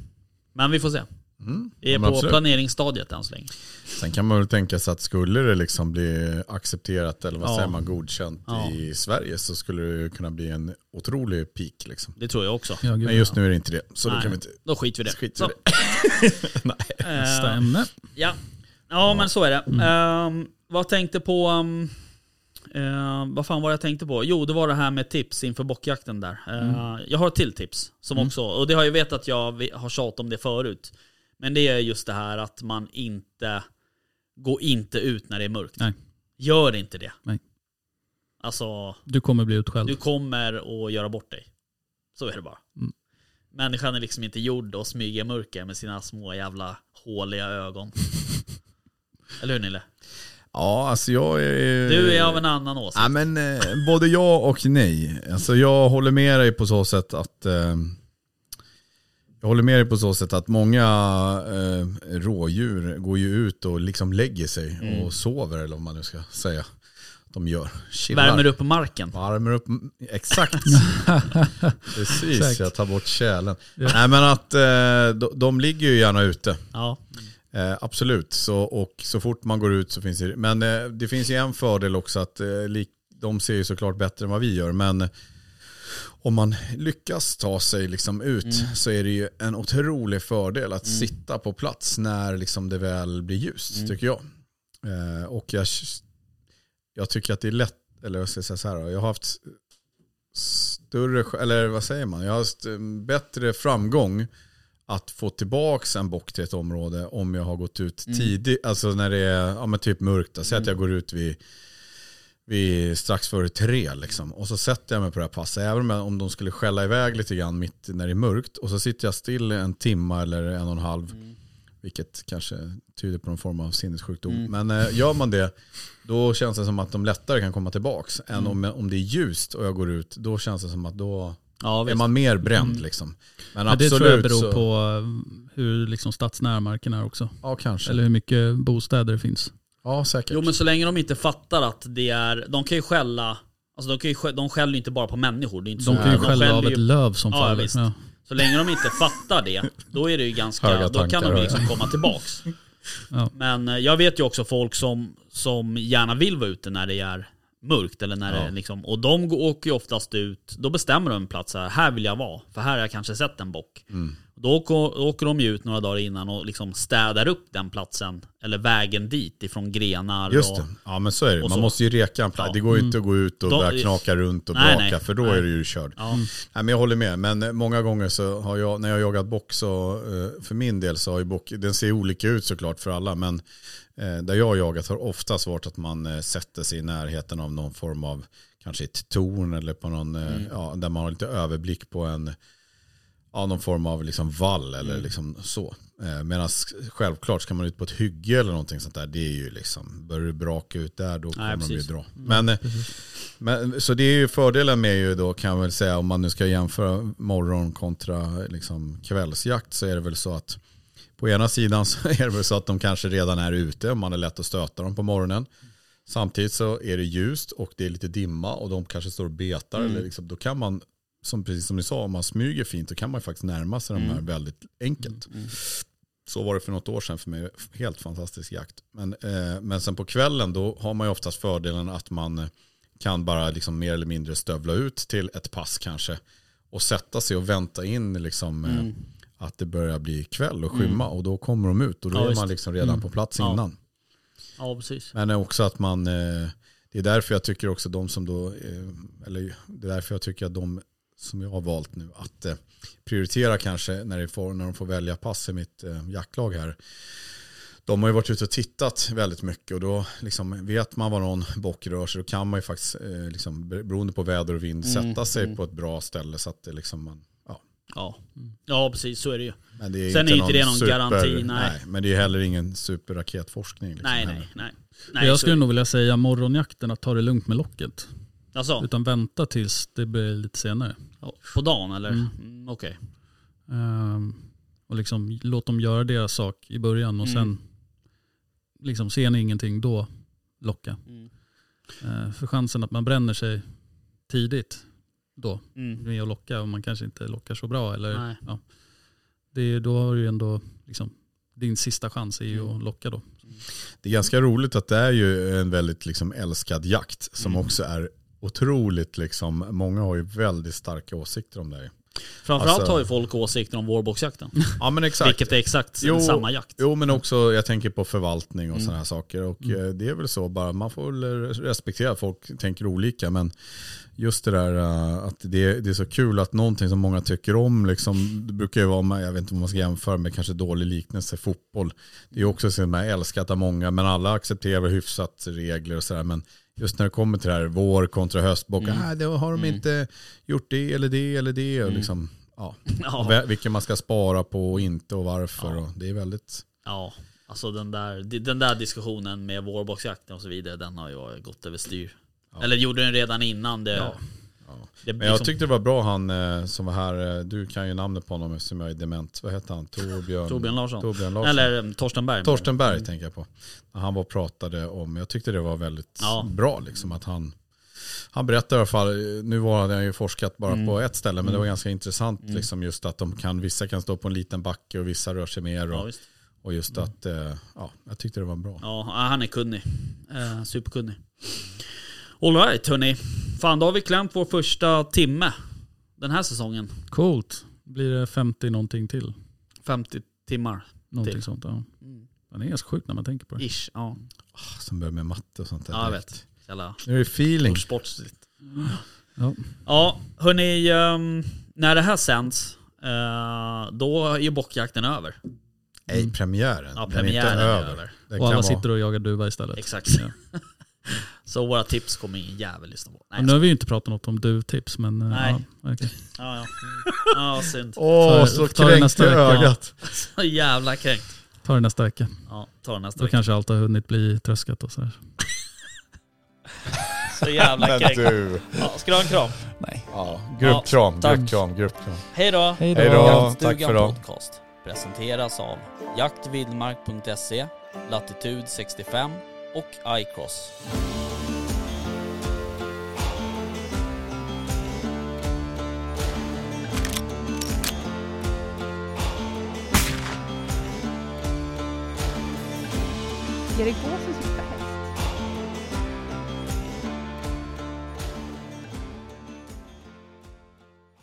C: men vi får se.
A: Mm.
C: Vi
A: Ja,
C: är
A: men
C: på
A: absolut.
C: planeringsstadiet än så länge.
A: Sen kan man väl tänka sig att skulle det liksom bli accepterat eller vad
C: Ja.
A: säger man godkänt
C: Ja.
A: i Sverige så skulle det kunna bli en otrolig peak. Liksom.
C: Det tror jag också.
D: Ja, gud,
A: Men just nu är det inte det. Så då
C: Nej.
A: kan vi inte
C: Då skiter vi i det.
A: skita i
C: Så,
A: det.
D: Nästa
C: eh,
D: ämne.
C: ja. ja, men så är det.
D: Mm.
C: Ehm, vad tänkte på... ehm, eh, vad fan var det jag tänkte på? Jo, det var det här med tips inför bockjakten där. Eh,
D: Mm.
C: Jag har ett till tips. Som också, och det har jag vet att jag vi- har tjatat om det förut. Men det är just det här att man inte... Gå inte ut när det är mörkt.
D: Nej.
C: Gör inte det.
D: Nej.
C: Alltså,
D: Du kommer bli utskälld.
C: du kommer att göra bort dig. Så är det bara.
D: Mm.
C: Människan är liksom inte gjord att smyga i mörker med sina små jävla håliga ögon. Eller hur Nille?
D: Eh,
A: Ja, alltså jag är...
C: Du är av en annan åsikt.
A: Ja, men, eh, både ja och nej. Alltså, jag håller med dig på så sätt att eh, jag håller med dig på så sätt att många eh, rådjur går ju ut och liksom lägger sig
C: Mm.
A: och sover eller vad man nu ska säga. De gör. Chillar.
C: Värmer upp marken.
A: Värmer upp. Mm, Exakt. Precis,
D: Exakt.
A: jag tar bort kärlen.
D: Ja.
A: Nej men att eh, de, de ligger ju gärna ute.
C: Ja.
D: typ.
A: Eh, absolut, så, och så fort man går ut så finns det... Men eh, det finns ju en fördel också att eh, lik, de ser ju såklart bättre än vad vi gör, men eh, om man lyckas ta sig liksom ut så är det ju en otrolig fördel att sitta på plats när liksom det väl blir ljust, tycker jag. Eh, och jag, jag tycker att det är lätt, eller jag ska säga så här, då, jag har haft större, eller vad säger man, jag har haft eh, bättre framgång att få tillbaka en bock till ett område om jag har gått ut
D: Mm.
A: tidigt, alltså när det är ja, men typ mörkt. då. Säg att jag går ut vid, vid strax före tre liksom. och så sätter jag mig på det här passet. Även om, jag, om de skulle skälla iväg lite grann mitt när det är mörkt och så sitter jag still en timme eller en och en halv.
D: Mm.
A: Vilket kanske tyder på någon form av sinnessjukdom.
D: Mm.
A: Men eh, gör man det, då känns det som att de lättare kan komma tillbaka.
D: Mm.
A: Än om, om det är ljust och jag går ut, då känns det som att då
C: Ja,
A: är
C: visst.
A: man mer bränd. Liksom. Men,
D: Mm. Men det
A: absolut,
D: tror jag beror
A: så-
D: på eh, hur liksom stadsnära marken är också.
A: Ja, kanske.
D: Eller hur mycket bostäder det finns.
A: Ja, säkert.
C: Jo men så länge de inte fattar att det är, de kan ju skälla, alltså de, kan ju, skä- de skäller ju inte bara på människor. Det är inte så.
D: De kan ju
C: De
D: skälla
C: skäller
D: av
C: ju-
D: ett löv som
C: Ja,
D: faller.
C: visst.
D: Ja.
C: Så länge de inte fattar det, då är det ju ganska,
A: Höga
C: då kan
A: tankar,
C: de ju
A: ja.
C: liksom komma tillbaks.
D: Ja.
C: Men eh, jag vet ju också folk som, som gärna vill vara ute när det är mörkt eller när det
A: Ja.
C: är liksom, och de går- åker ju oftast ut, då bestämmer de en plats här, här vill jag vara, för här har jag kanske sett en bock.
A: Mm.
C: Då åker, åker de ju ut några dagar innan och liksom städar upp den platsen, eller vägen dit ifrån grenar
A: Just
C: och,
A: det. Ja, men så är det.
C: och
A: Man
C: så.
A: måste ju reka en plats.
C: Ja.
A: Det går ju inte att gå ut och
C: Då-
A: börja knaka runt och
C: Nej,
A: braka,
C: nej.
A: för då
C: Nej.
A: är du ju körd. Mm.
C: Ja.
A: Nej, men jag håller med, men eh, många gånger så har jag, när jag har jagat bock så, eh, för min del så har ju bock, den ser olika ut såklart för alla, men eh, där jag har jagat har oftast varit att man eh, sätter sig i närheten av någon form av, kanske ett torn eller på någon,
C: Mm.
A: eh, ja, där man har lite överblick på en, ja, någon form av liksom vall
C: Mm.
A: eller liksom så. Eh, Medan självklart ska man ut på ett hygge eller någonting sånt där, det är ju liksom, börjar du braka ut där då kommer de ju
C: precis.
A: dra. Men, eh, men, så det är ju fördelen med ju då kan jag väl säga om man nu ska jämföra morgon kontra liksom kvällsjakt så är det väl så att på ena sidan så är det väl så att de kanske redan är ute och man är lätt att stöta dem på morgonen. Samtidigt så är det ljust och det är lite dimma och de kanske står och betar. Eller liksom, då kan man, som, precis som ni sa, om man smyger fint då kan man ju faktiskt närma sig de här väldigt enkelt. Så var det för något år sedan för mig. Helt fantastisk jakt. Men, eh, men sen på kvällen då har man ju oftast fördelen att man eh, kan bara liksom mer eller mindre stövla ut till ett pass kanske och sätta sig och vänta in liksom,
C: Mm.
A: eh, att det börjar bli kväll och skymma och då kommer de ut och då
C: Ja,
A: är
C: visst.
A: man liksom redan på plats
C: Ja.
A: innan.
C: ja, precis.
A: Men också att man, eh, det är därför jag tycker också de som då, eh, eller det är därför jag tycker att de som jag har valt nu att eh, prioritera kanske när, det får, när de får välja pass i mitt eh, jaktlag här. de har ju varit ute och tittat väldigt mycket och då liksom vet man var någon bock rör sig då kan man ju faktiskt, eh, liksom, beroende på väder och vind,
E: Mm,
A: sätta sig
E: mm.
A: på ett bra ställe så att det liksom man
C: Ja. ja, precis så är det ju.
A: Men Mm. det är
C: Sen är inte det någon
A: super-
C: garanti, nej.
A: Men det är heller ingen superraketforskning. Liksom,
C: Nej,
A: heller.
C: nej, nej.
D: Nej,
C: nej
D: jag
C: så-
D: skulle nog vilja säga morgonjakten, att ta det lugnt med locket.
C: Alltså,
D: Utan vänta tills det blir lite senare.
C: på dagen eller?
D: Mm.
C: Mm, Okej.
D: Ehm, och liksom låt dem göra deras sak i början och
E: Mm.
D: sen liksom ser ni ingenting då locka.
E: Mm.
D: Ehm, för chansen att man bränner sig tidigt då
E: Mm.
D: med att locka och man kanske inte lockar så bra. Eller,
C: Nej.
D: ja, det är, då har du ju ändå liksom, din sista chans är ju
E: Mm.
D: att locka då.
A: Det är ganska roligt att det är ju en väldigt liksom, älskad jakt som
E: Mm.
A: också är otroligt, liksom, många har ju väldigt starka åsikter om det. här.
C: Framförallt
A: Alltså-
C: har ju folk åsikter om vårboxjakten.
A: Ja men exakt.
C: Vilket är exakt
A: Jo.
C: samma jakt.
A: Jo men också jag tänker på förvaltning och
E: Mm.
A: sådana här saker. Och
D: Mm.
A: eh, det är väl så bara, man får väl respektera att folk tänker olika. Men just det där eh, att det, det är så kul att någonting som många tycker om, liksom, det brukar ju vara, om man- jag vet inte om man ska jämföra med kanske dålig liknelse, fotboll. Det är också så att man är älskat av många, men alla accepterar hyfsat regler och sådär. Men just när det kommer till det här vår kontra höstbock,
E: Mm.
A: nej det har de
E: Mm.
A: inte gjort det eller det eller det. Och
E: Mm.
A: liksom, ja. Och
C: Ja,
A: vä- Vilka man ska spara på och inte och varför.
C: Ja.
A: Och det är väldigt...
C: ja. Alltså den där, den där diskussionen med vårboxjakten och så vidare, den har ju gått överstyr.
A: Ja.
C: Eller gjorde den redan innan det...
A: Ja. Ja.
C: det
A: Men jag
C: liksom-
A: tyckte det var bra han eh, som var här, eh, du kan ju namnet på honom eftersom jag är dement. Vad heter han? Torbjörn,
C: Torbjörn Larsson.
A: Torbjörn Larsson.
C: Eller um, Torsten Berg.
A: Torsten Berg tänker jag på. När Han var och pratade om, jag tyckte det var väldigt
C: Ja.
A: bra liksom att han, han berättade i alla fall, eh, nu har han ju forskat bara
E: Mm.
A: på ett ställe men det var
E: Mm.
A: ganska intressant
E: Mm.
A: liksom just att de kan, vissa kan stå på en liten backe och vissa rör sig mer
C: Ja,
A: och,
C: visst. Mm.
A: och just att, eh, ja, jag tyckte det var bra.
C: Ja, han är kunnig. Eh, superkunnig. Alright hörni. Fan då har vi klämt vår första timme. Den här säsongen.
D: Coolt. Blir det 50 någonting till?
C: 50 timmar.
D: Någonting
C: Till.
D: sånt. Ja.
A: Mm.
D: Man är ganska sjukt när man tänker på det.
C: Ish. Ja,
A: Ah, Som börjar med matte och sånt där.
C: ja jag
A: direkt.
C: vet. Jävla
A: Nu är det feeling.
C: sportsligt.
D: Ja.
C: Ja, hörni. ehm, när det här sänds, eh, då är ju bockjakten över.
A: Nej, premiären.
C: Ja,
A: Den är inte
C: premiären är
A: över.
C: över.
A: Den
D: Och alla
A: kan vara-
D: sitter och jagar duva istället.
C: Exakt.
D: Ja.
C: Så våra tips kommer ingen jävel lyssna på. Nej,
D: Och nu har vi ju inte pratat något om duvtips men... eh,
C: Nej.
D: Ja, okej.
C: ja, ja. ja, synd.
A: Åh,
D: Ta-
A: så
D: ta det
A: kränkt i
D: nästa vecka.
A: ögat.
C: Så jävla kränkt.
D: Ta det nästa vecka.
C: Ja, ta den nästa
D: Då
C: vecka.
D: kanske allt har hunnit bli tröskat och sådär.
C: Så jävla kränkt.
A: du.
C: Ja, ska du ha en kram?
E: Nej.
A: Ja,
C: gruppkram,
A: gruppkram,
C: tack.
A: gruppkram, gruppkram.
C: Hej då!
E: Hej
A: Hej då.
E: Jaktstugan
A: tack för idag.
E: Podcast presenteras av jaktvildmark.se, Latitude 65 och iCross.
B: Ska det gå så sakta?